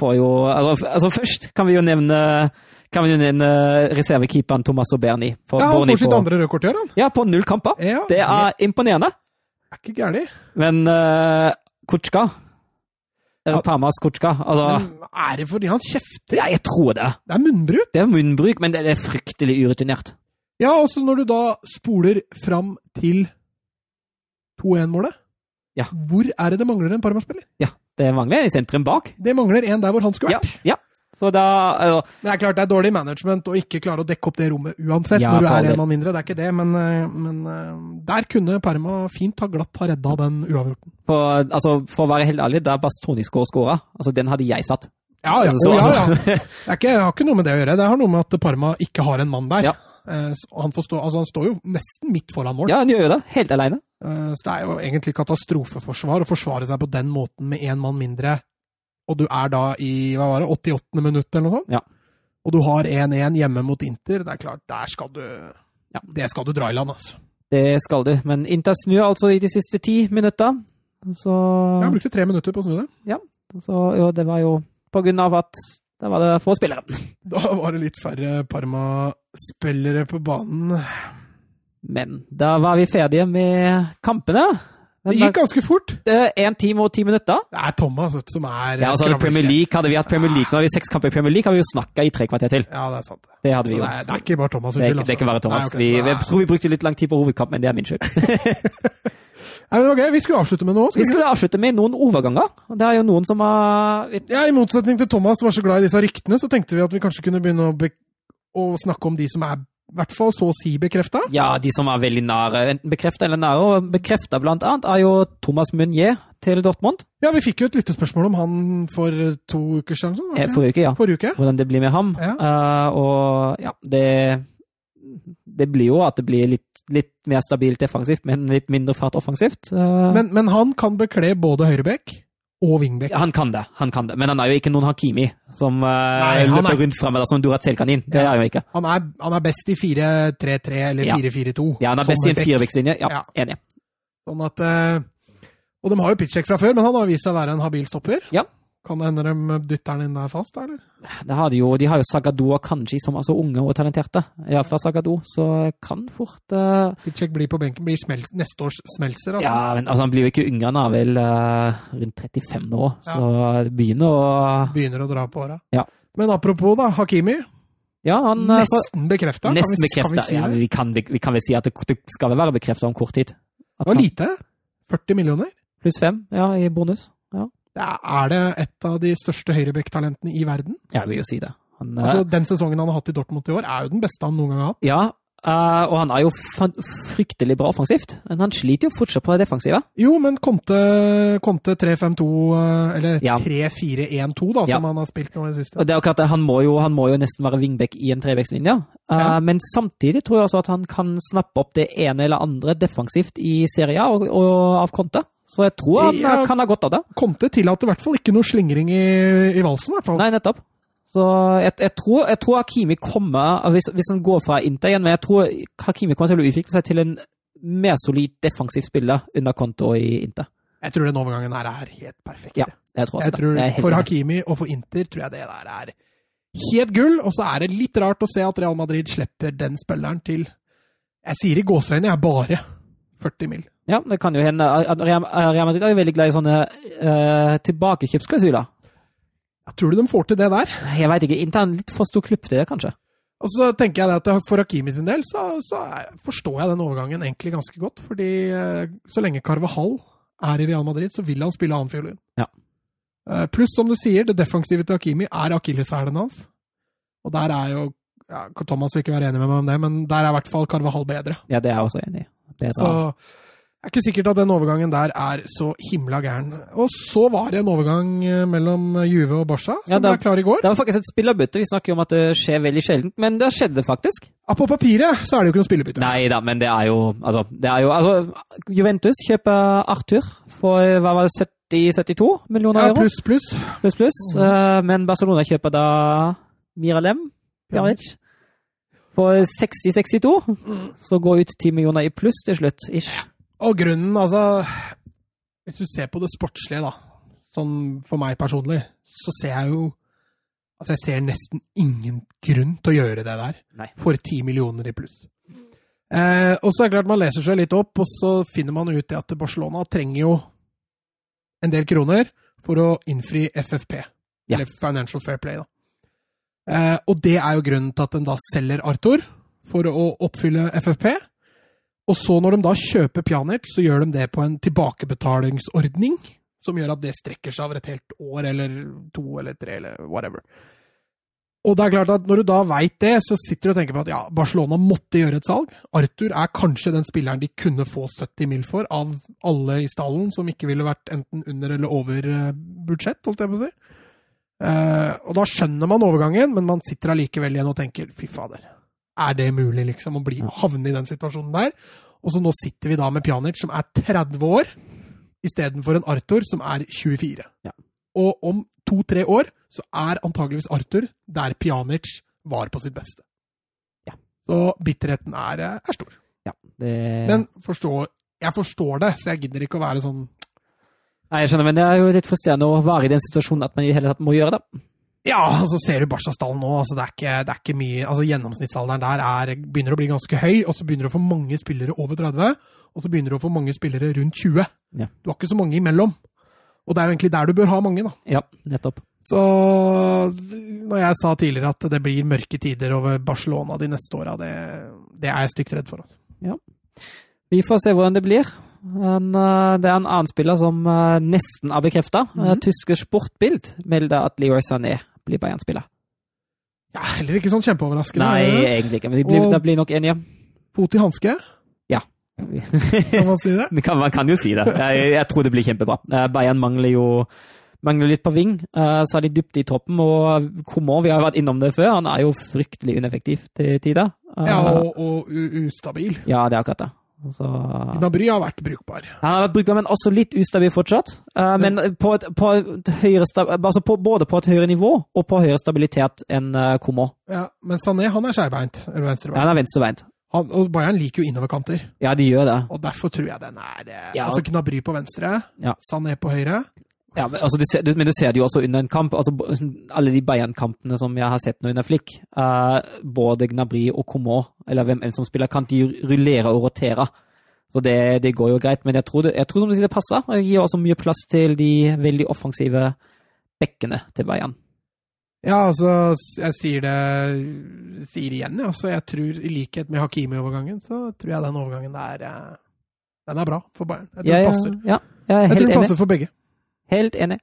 B: får jo altså, altså, først kan vi jo nevne kan vi jo nevne reservekeeperen Thomas Oberni. På,
A: ja han
B: Borni
A: får sitt
B: på,
A: andre røde kort i år, han.
B: ja, på null kamper.
A: Ja,
B: Det er imponerende.
A: er ikke gærent.
B: Men uh, Kutschka Eller
A: Ja.
B: Parmas Kutschka altså,
A: Men Er det fordi han kjefter?
B: ja, Jeg tror det.
A: Det er munnbruk.
B: Det er munnbruk, men det er fryktelig urutinert.
A: Ja, altså når du da spoler fram til 2-1-målet
B: Ja.
A: Hvor er det det mangler en Parma-spiller?
B: Det mangler i sentrum bak.
A: Det mangler en der hvor han skulle
B: Ja,
A: vært.
B: ja. Så da eh,
A: Det er klart det er dårlig management å ikke klare å dekke opp det rommet uansett,
B: Ja,
A: når du
B: fader.
A: er en mann mindre. Det er ikke det, men, eh, men eh, der kunne Parma fint ha glatt ha redda den uavgjorten.
B: på, altså, For å være helt ærlig, der Bastoni skåra, altså, den hadde jeg satt.
A: Ja, ja,
B: Altså, så-
A: jo, ja, ja.
B: altså-
A: Det er ikke, det har ikke noe med det å gjøre. Det har noe med at Parma ikke har en mann der.
B: Ja.
A: Eh, så Han, får stå, altså han står jo nesten midt foran mål,
B: ja, han gjør jo det. Helt aleine.
A: Eh, så det er jo egentlig katastrofeforsvar å forsvare seg på den måten med én mann mindre, og du er da i hva var det, 88. minutt eller noe sånt,
B: Ja.
A: og du har 1-1 hjemme mot Inter. Det er klart, der skal du
B: Ja.
A: Det skal du dra i land, altså.
B: Det skal du. Men Inter snur altså i de siste ti minutta. Så,
A: Jeg brukte tre minutter på å snu det.
B: så jo, det var jo på grunn av at da var det få spillere.
A: Da var det litt færre Parma-spillere på banen.
B: Men da var vi ferdige med kampene.
A: Det gikk ganske fort.
B: Én time og ti minutter.
A: Det er Thomas vet du, som er eh,
B: Ja, altså,
A: skravlekjeft.
B: Premier League, hadde vi hatt Premier League, nå har vi seks kamper i Premier League, har vi jo snakka i tre kvarter til.
A: Ja, det er sant.
B: Det hadde
A: Så
B: vi
A: det
B: jo.
A: er, det er ikke bare Thomas'
B: Det er,
A: skyld. altså.
B: ikke- det er ikke bare Thomas.
A: Nei, ok.
B: vi, eh,
A: Nei.
B: jeg tror vi brukte litt lang tid på hovedkamp, men det er min skyld.
A: Nei, men ok, Vi skulle avslutte med noe.
B: Vi
A: Skulle...
B: skulle avslutte med noen overganger. og Det er jo noen som har
A: vi? Ja, I motsetning til Thomas som var så glad i disse ryktene, så tenkte vi at vi kanskje kunne begynne å, be å snakke om de som er i hvert fall så å si bekrefta.
B: Ja, de som er veldig nære, enten bekrefta eller nære. Og bekrefta blant annet er jo Thomas Meunier til Dortmund.
A: Ja, vi fikk jo et lyttespørsmål om han for to uker siden. sånn, var det
B: eh,
A: ikke?
B: Forrige uke, ja.
A: Forrige uke.
B: Hvordan det blir med ham.
A: Ja.
B: Eh, og ja, det Det blir jo at det blir litt, litt mer stabilt defensivt, men litt mindre fart offensivt. Eh,
A: Men, men han kan bekle både høyrebekk og vingbekk.
B: han kan det, han kan det, men han er jo ikke noen Hakimi som eh,
A: Nei, han
B: løper
A: er-
B: rundt framme der som en Duracell-kanin. Det
A: Ja.
B: er han jo ikke.
A: Han, er, han er best i 4-3-3 eller
B: Ja.
A: 4-4-2.
B: Ja, han er
A: som
B: best i en
A: bekk.
B: firevektslinje. Ja,
A: Ja.
B: enig.
A: Sånn at, eh, og de har jo pitchcheck fra før, men han har vist seg å være en habil stopper.
B: Ja.
A: Kan det hende de dytter han inn der fast, eller?
B: Det har de, jo, de har jo Sagado og Kanji som er så unge og talenterte. Jeg er fra Sagado, så kan fort eh,
A: Pitchcheck blir på benken, blir smel neste års smelser, altså.
B: Ja, men altså, han blir jo ikke yngre, han er vel eh, rundt 35 nå, så det begynner å
A: Begynner å dra på åra.
B: Ja.
A: Men apropos da, Hakimi.
B: Ja, han eh, får-
A: Nesten bekrefta.
B: Nesten
A: Kan vi
B: bekrefta.
A: si
B: Ja,
A: det?
B: vi, kan- vi, vi kan vel si at det, det skal vel være bekrefta om kort tid.
A: Det
B: At
A: var
B: han-
A: lite. 40 millioner.
B: pluss fem ja, i bonus. Ja.
A: Ja, Er det et av de største høyreback-talentene i verden?
B: Jeg vil jo si det. Han, eh,
A: Altså, Den sesongen han har hatt i Dortmund i år, er jo den beste han noen gang har hatt.
B: ja, eh, og han er jo fan- fryktelig bra offensivt, men han sliter jo fortsatt på det defensive.
A: Jo, men Conte, Conte 3-5-2, eh, eller
B: Ja.
A: 3-4-1-2, da, som
B: Ja.
A: han har spilt nå i det siste.
B: Og det er akkurat det, han må jo, han må jo nesten være wingback i en trebekslinje. Eh,
A: Ja.
B: Men samtidig tror jeg også at han kan snappe opp det ene eller andre defensivt i serien og, og av Conte. Så jeg tror han eh,
A: Ja.
B: kan ha godt av det.
A: Conte tillater i hvert fall ikke noe slingring i, i valsen, i hvert fall.
B: Nei, nettopp. Så jeg, jeg, tror, jeg tror Hakimi kommer hvis, hvis han går fra Inter igjen, men jeg tror Hakimi kommer til å utvikle seg til en mer solid defensiv spiller under Conte og i Inter.
A: Jeg tror den overgangen her er helt perfekt.
B: Ja, jeg tror også
A: Jeg tror
B: det. Jeg er helt
A: For
B: enig.
A: Hakimi og for Inter tror jeg det der er helt gull. Og så er det litt rart å se at Real Madrid slipper den spilleren til Jeg sier i gåseøyne, jeg er bare 40 mil.
B: Ja, det kan jo hende. At Real Real Madrid er jo veldig glad i sånne uh, tilbakekjøpsklausuler.
A: Ja, Tror du de får til det der?
B: Jeg veit ikke. Inter er en litt for stor klubb til det, kanskje.
A: Og så tenker jeg det at for Hakimi sin del så, så er- forstår jeg den overgangen egentlig ganske godt. Fordi eh, så lenge Carvahall er i Real Madrid, så vil han spille annen fiolin.
B: Ja.
A: Eh, Pluss, som du sier, det defensive til Hakimi er akilleshælen hans. Og der er jo ja, Thomas vil ikke være enig med meg om det, men der er i hvert fall Carvahall bedre.
B: Ja, det er jeg også enig i. Det er
A: Så det er ikke sikkert at den overgangen der er så himla gæren. Og så var det en overgang eh, mellom Juve og Barca, som
B: Ja, da-
A: ble klar i går.
B: det var faktisk et spillerbytte. Vi snakker jo om at det skjer veldig sjeldent, men det skjedde faktisk.
A: Ja, på papiret så er det jo ikke noe spillebytte.
B: Nei da, men det er jo Altså, det er jo, altså Juventus kjøper Arthur for hva var det, 70-72 millioner
A: Ja,
B: euro,
A: pluss, Mm. pluss.
B: pluss, pluss. Eh, men Barcelona kjøper da Miralem Pjanic for 60-62.
A: Mm.
B: Så går ut 10 millioner i pluss til slutt, ish.
A: Og grunnen, altså Hvis du ser på det sportslige, da, sånn for meg personlig, så ser jeg jo Altså, jeg ser nesten ingen grunn til å gjøre det der.
B: Nei.
A: For ti millioner i pluss. Eh, og så er det klart man leser seg litt opp, og så finner man ut det at Barcelona trenger jo en del kroner for å innfri FFP,
B: Ja.
A: eller Financial Fair Play, da. Eh, og det er jo grunnen til at en da selger Arthur for å oppfylle FFP. Og så når de da kjøper Pjanic, så gjør de det på en tilbakebetalingsordning, som gjør at det strekker seg over et helt år eller to eller tre eller whatever. Og det er klart at når du da veit det, så sitter du og tenker på at ja, Barcelona måtte gjøre et salg. Arthur er kanskje den spilleren de kunne få 70 mil for, av alle i stallen som ikke ville vært enten under eller over eh, budsjett, holdt jeg på å si. Eh, og da skjønner man overgangen, men man sitter allikevel igjen og tenker fy fader, er det mulig liksom å bli, havne i den situasjonen der? Og så nå sitter vi da med Pjanic som er 30 år, istedenfor en Arthur som er 24.
B: Ja.
A: Og om to-tre år så er antageligvis Arthur der Pjanic var på sitt beste.
B: Ja.
A: Så bitterheten er, eh, er stor.
B: Ja, det...
A: Men forstår, jeg forstår det, så jeg gidder ikke å være sånn
B: Nei, jeg skjønner, men det er jo litt frustrerende å være i den situasjonen at man i det hele tatt må gjøre det.
A: Ja, altså ser du Barca-stallen nå, altså det er ikke, det er ikke mye altså Gjennomsnittsalderen der er, begynner å bli ganske høy, og så begynner du å få mange spillere over 30, og så begynner du å få mange spillere rundt 20.
B: Ja.
A: Du har ikke så mange imellom. Og det er jo egentlig der du bør ha mange, da.
B: Ja, nettopp.
A: Så når jeg sa tidligere at det blir mørke tider over Barcelona de neste åra, det, det er jeg stygt redd for. altså.
B: Vi får se hvordan det blir. Men, eh, det er en annen spiller som eh, nesten er bekrefta.
A: Mhm.
B: Tyske Sportbild melder at Leroy Sané blir Bayern-spiller.
A: Ja, heller ikke sånn kjempeoverraskende.
B: Nei, egentlig ikke, men de blir,
A: Og-
B: de blir nok enige.
A: Fot i hanske, kan man si det?
B: Det kan, man kan jo si det. Jeg, jeg tror det blir kjempebra. Eh, Bayern mangler jo mangler litt på ving, eh, så er de dypt i toppen. Og Coman, vi har jo vært innom det før, han er jo fryktelig ineffektiv til tider. Eh,
A: Ja, og, og u- ustabil.
B: ja, det er akkurat det. Så, han
A: Gnabry har vært brukbar.
B: har vært brukbar, men også litt ustabil fortsatt. Eh, men på et, på et høyere sta- altså på, både på et høyere nivå og på høyere stabilitet enn uh, Coman.
A: Ja, men Sané han er skeibeint, eller venstrebeint.
B: Han er venstrebeint.
A: Han, og Bayern liker jo innoverkanter,
B: Ja, de gjør det.
A: og derfor tror jeg den er eh,
B: Ja.
A: Altså Knabry på venstre,
B: Ja.
A: Sané på høyre.
B: Ja, men, altså, du ser, du, men du ser det jo også under en kamp. Altså, bo- alle de Bayern-kampene som jeg har sett nå under Flick, eh, både Gnabry og Coman, eller hvem enn som spiller, kan de rullere og rotere. Så det, det går jo greit, men jeg tror, det, jeg tror som du sier, det passer. Og det gir også mye plass til de veldig offensive bekkene til Bayern.
A: Ja, altså, s- jeg sier det sier igjen, ja. Så jeg tror, i likhet med Hakimi-overgangen, så tror jeg den overgangen der eh, Den er bra for Bayern. Jeg tror
B: Ja,
A: den
B: ja,
A: passer.
B: Ja, jeg er
A: Jeg tror
B: helt
A: den
B: enig.
A: passer for begge.
B: Helt enig.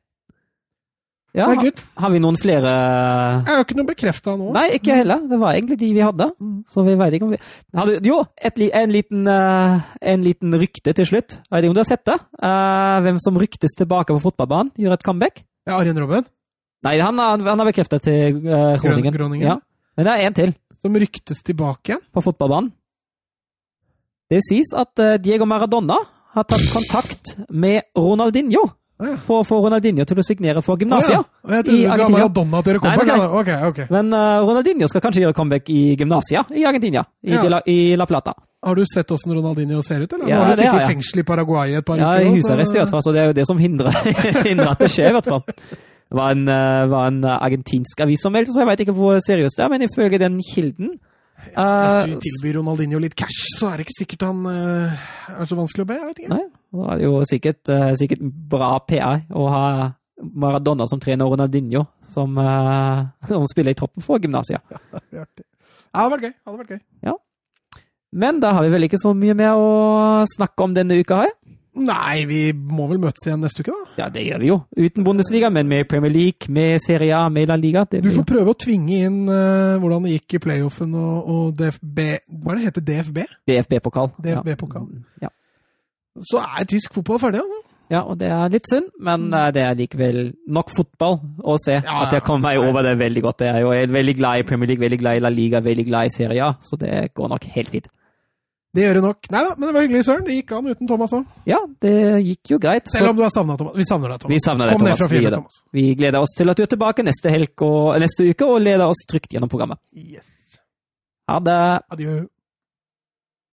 B: Ja,
A: Nei, gud,
B: har vi noen flere
A: jeg har ikke noe bekrefta nå.
B: Nei, ikke jeg heller. Det var egentlig de vi hadde.
A: Mm.
B: Så vi vet ikke om vi hadde, Jo, et, li- en, liten, eh, en liten rykte til slutt. Jeg vet ikke om du har sett det? Eh, hvem som ryktes tilbake på fotballbanen, gjør et comeback?
A: Ja, Arjen Robben,
B: Nei, han, er- han er bekreftet til uh, Groningen.
A: Groningen.
B: Ja. Men det er en til
A: som ryktes tilbake igjen.
B: på fotballbanen. Det sies at eh, Diego Maradona har tatt kontakt med Ronaldinho
A: Å, ja.
B: for å få Ronaldinho til å signere for
A: Å,
B: gymnasia.
A: ja. Og Jeg
B: I
A: trodde du skulle ha
B: Argentina.
A: Maradona til å
B: Nei,
A: komme
B: nei,
A: tilbake. Ok, ok.
B: Men eh, Ronaldinho skal kanskje gjøre comeback i gymnasia i Argentina, i,
A: Ja.
B: de La, i La Plata.
A: Har du sett åssen Ronaldinho ser ut, eller?
B: Ja,
A: Nå har du
B: det har
A: sittet i
B: jeg.
A: fengsel i Paraguay i et par
B: Ja,
A: uker.
B: i
A: nå, så-
B: husarrest i hvert fall, så det er jo det som hindrer, hindrer at det skjer, i hvert fall. Det var en, eh, var en eh, argentinsk avis som meldte, så jeg veit ikke hvor seriøst det er, men ifølge den kilden eh,
A: Hvis du tilbyr Ronaldinho litt cash, så er det ikke sikkert han eh, er så vanskelig å be. jeg vet ikke.
B: Nei, da er det jo sikkert, eh, sikkert bra PR å ha Maradona som trener og Ronaldinho, som, eh, som spiller i troppen for gymnasia.
A: Det er artig. Ja, det hadde vært gøy. det hadde vært gøy.
B: Men da har vi vel ikke så mye mer å snakke om denne uka her.
A: Nei, vi må vel møtes igjen neste uke, da.
B: Ja, det gjør vi jo. Uten Bundesliga, men med Premier League, med Serie A, med La Liga. Det
A: Du
B: blir jo-
A: får prøve å tvinge inn eh, hvordan det gikk i playoffen og, og DFB Hva er det heter DFB?
B: DFB-pokal.
A: DFB-pokal.
B: Ja.
A: Så er tysk fotball ferdig, altså.
B: Ja, og det er litt synd, men eh, det er likevel nok fotball å se.
A: Mm. Ja,
B: At jeg kom meg over det veldig godt. Jeg er jo helt veldig glad i Premier League, veldig glad i La Liga, veldig glad i Serie A, så det går nok helt fint.
A: Det gjør det nok. Nei da, men det var hyggelig, Søren. Det gikk an uten Thomas òg.
B: Ja, det gikk jo greit.
A: Selv
B: Så
A: om du har savna Thomas. Vi savner deg, Thomas.
B: vi savner deg,
A: Kom ned
B: Thomas.
A: fra
B: Vi,
A: fjellet,
B: gjør det.
A: Thomas.
B: vi gleder oss til at du er tilbake neste, helg og, neste uke og leder oss trygt gjennom programmet.
A: Yes.
B: Ha det!
A: Adjø.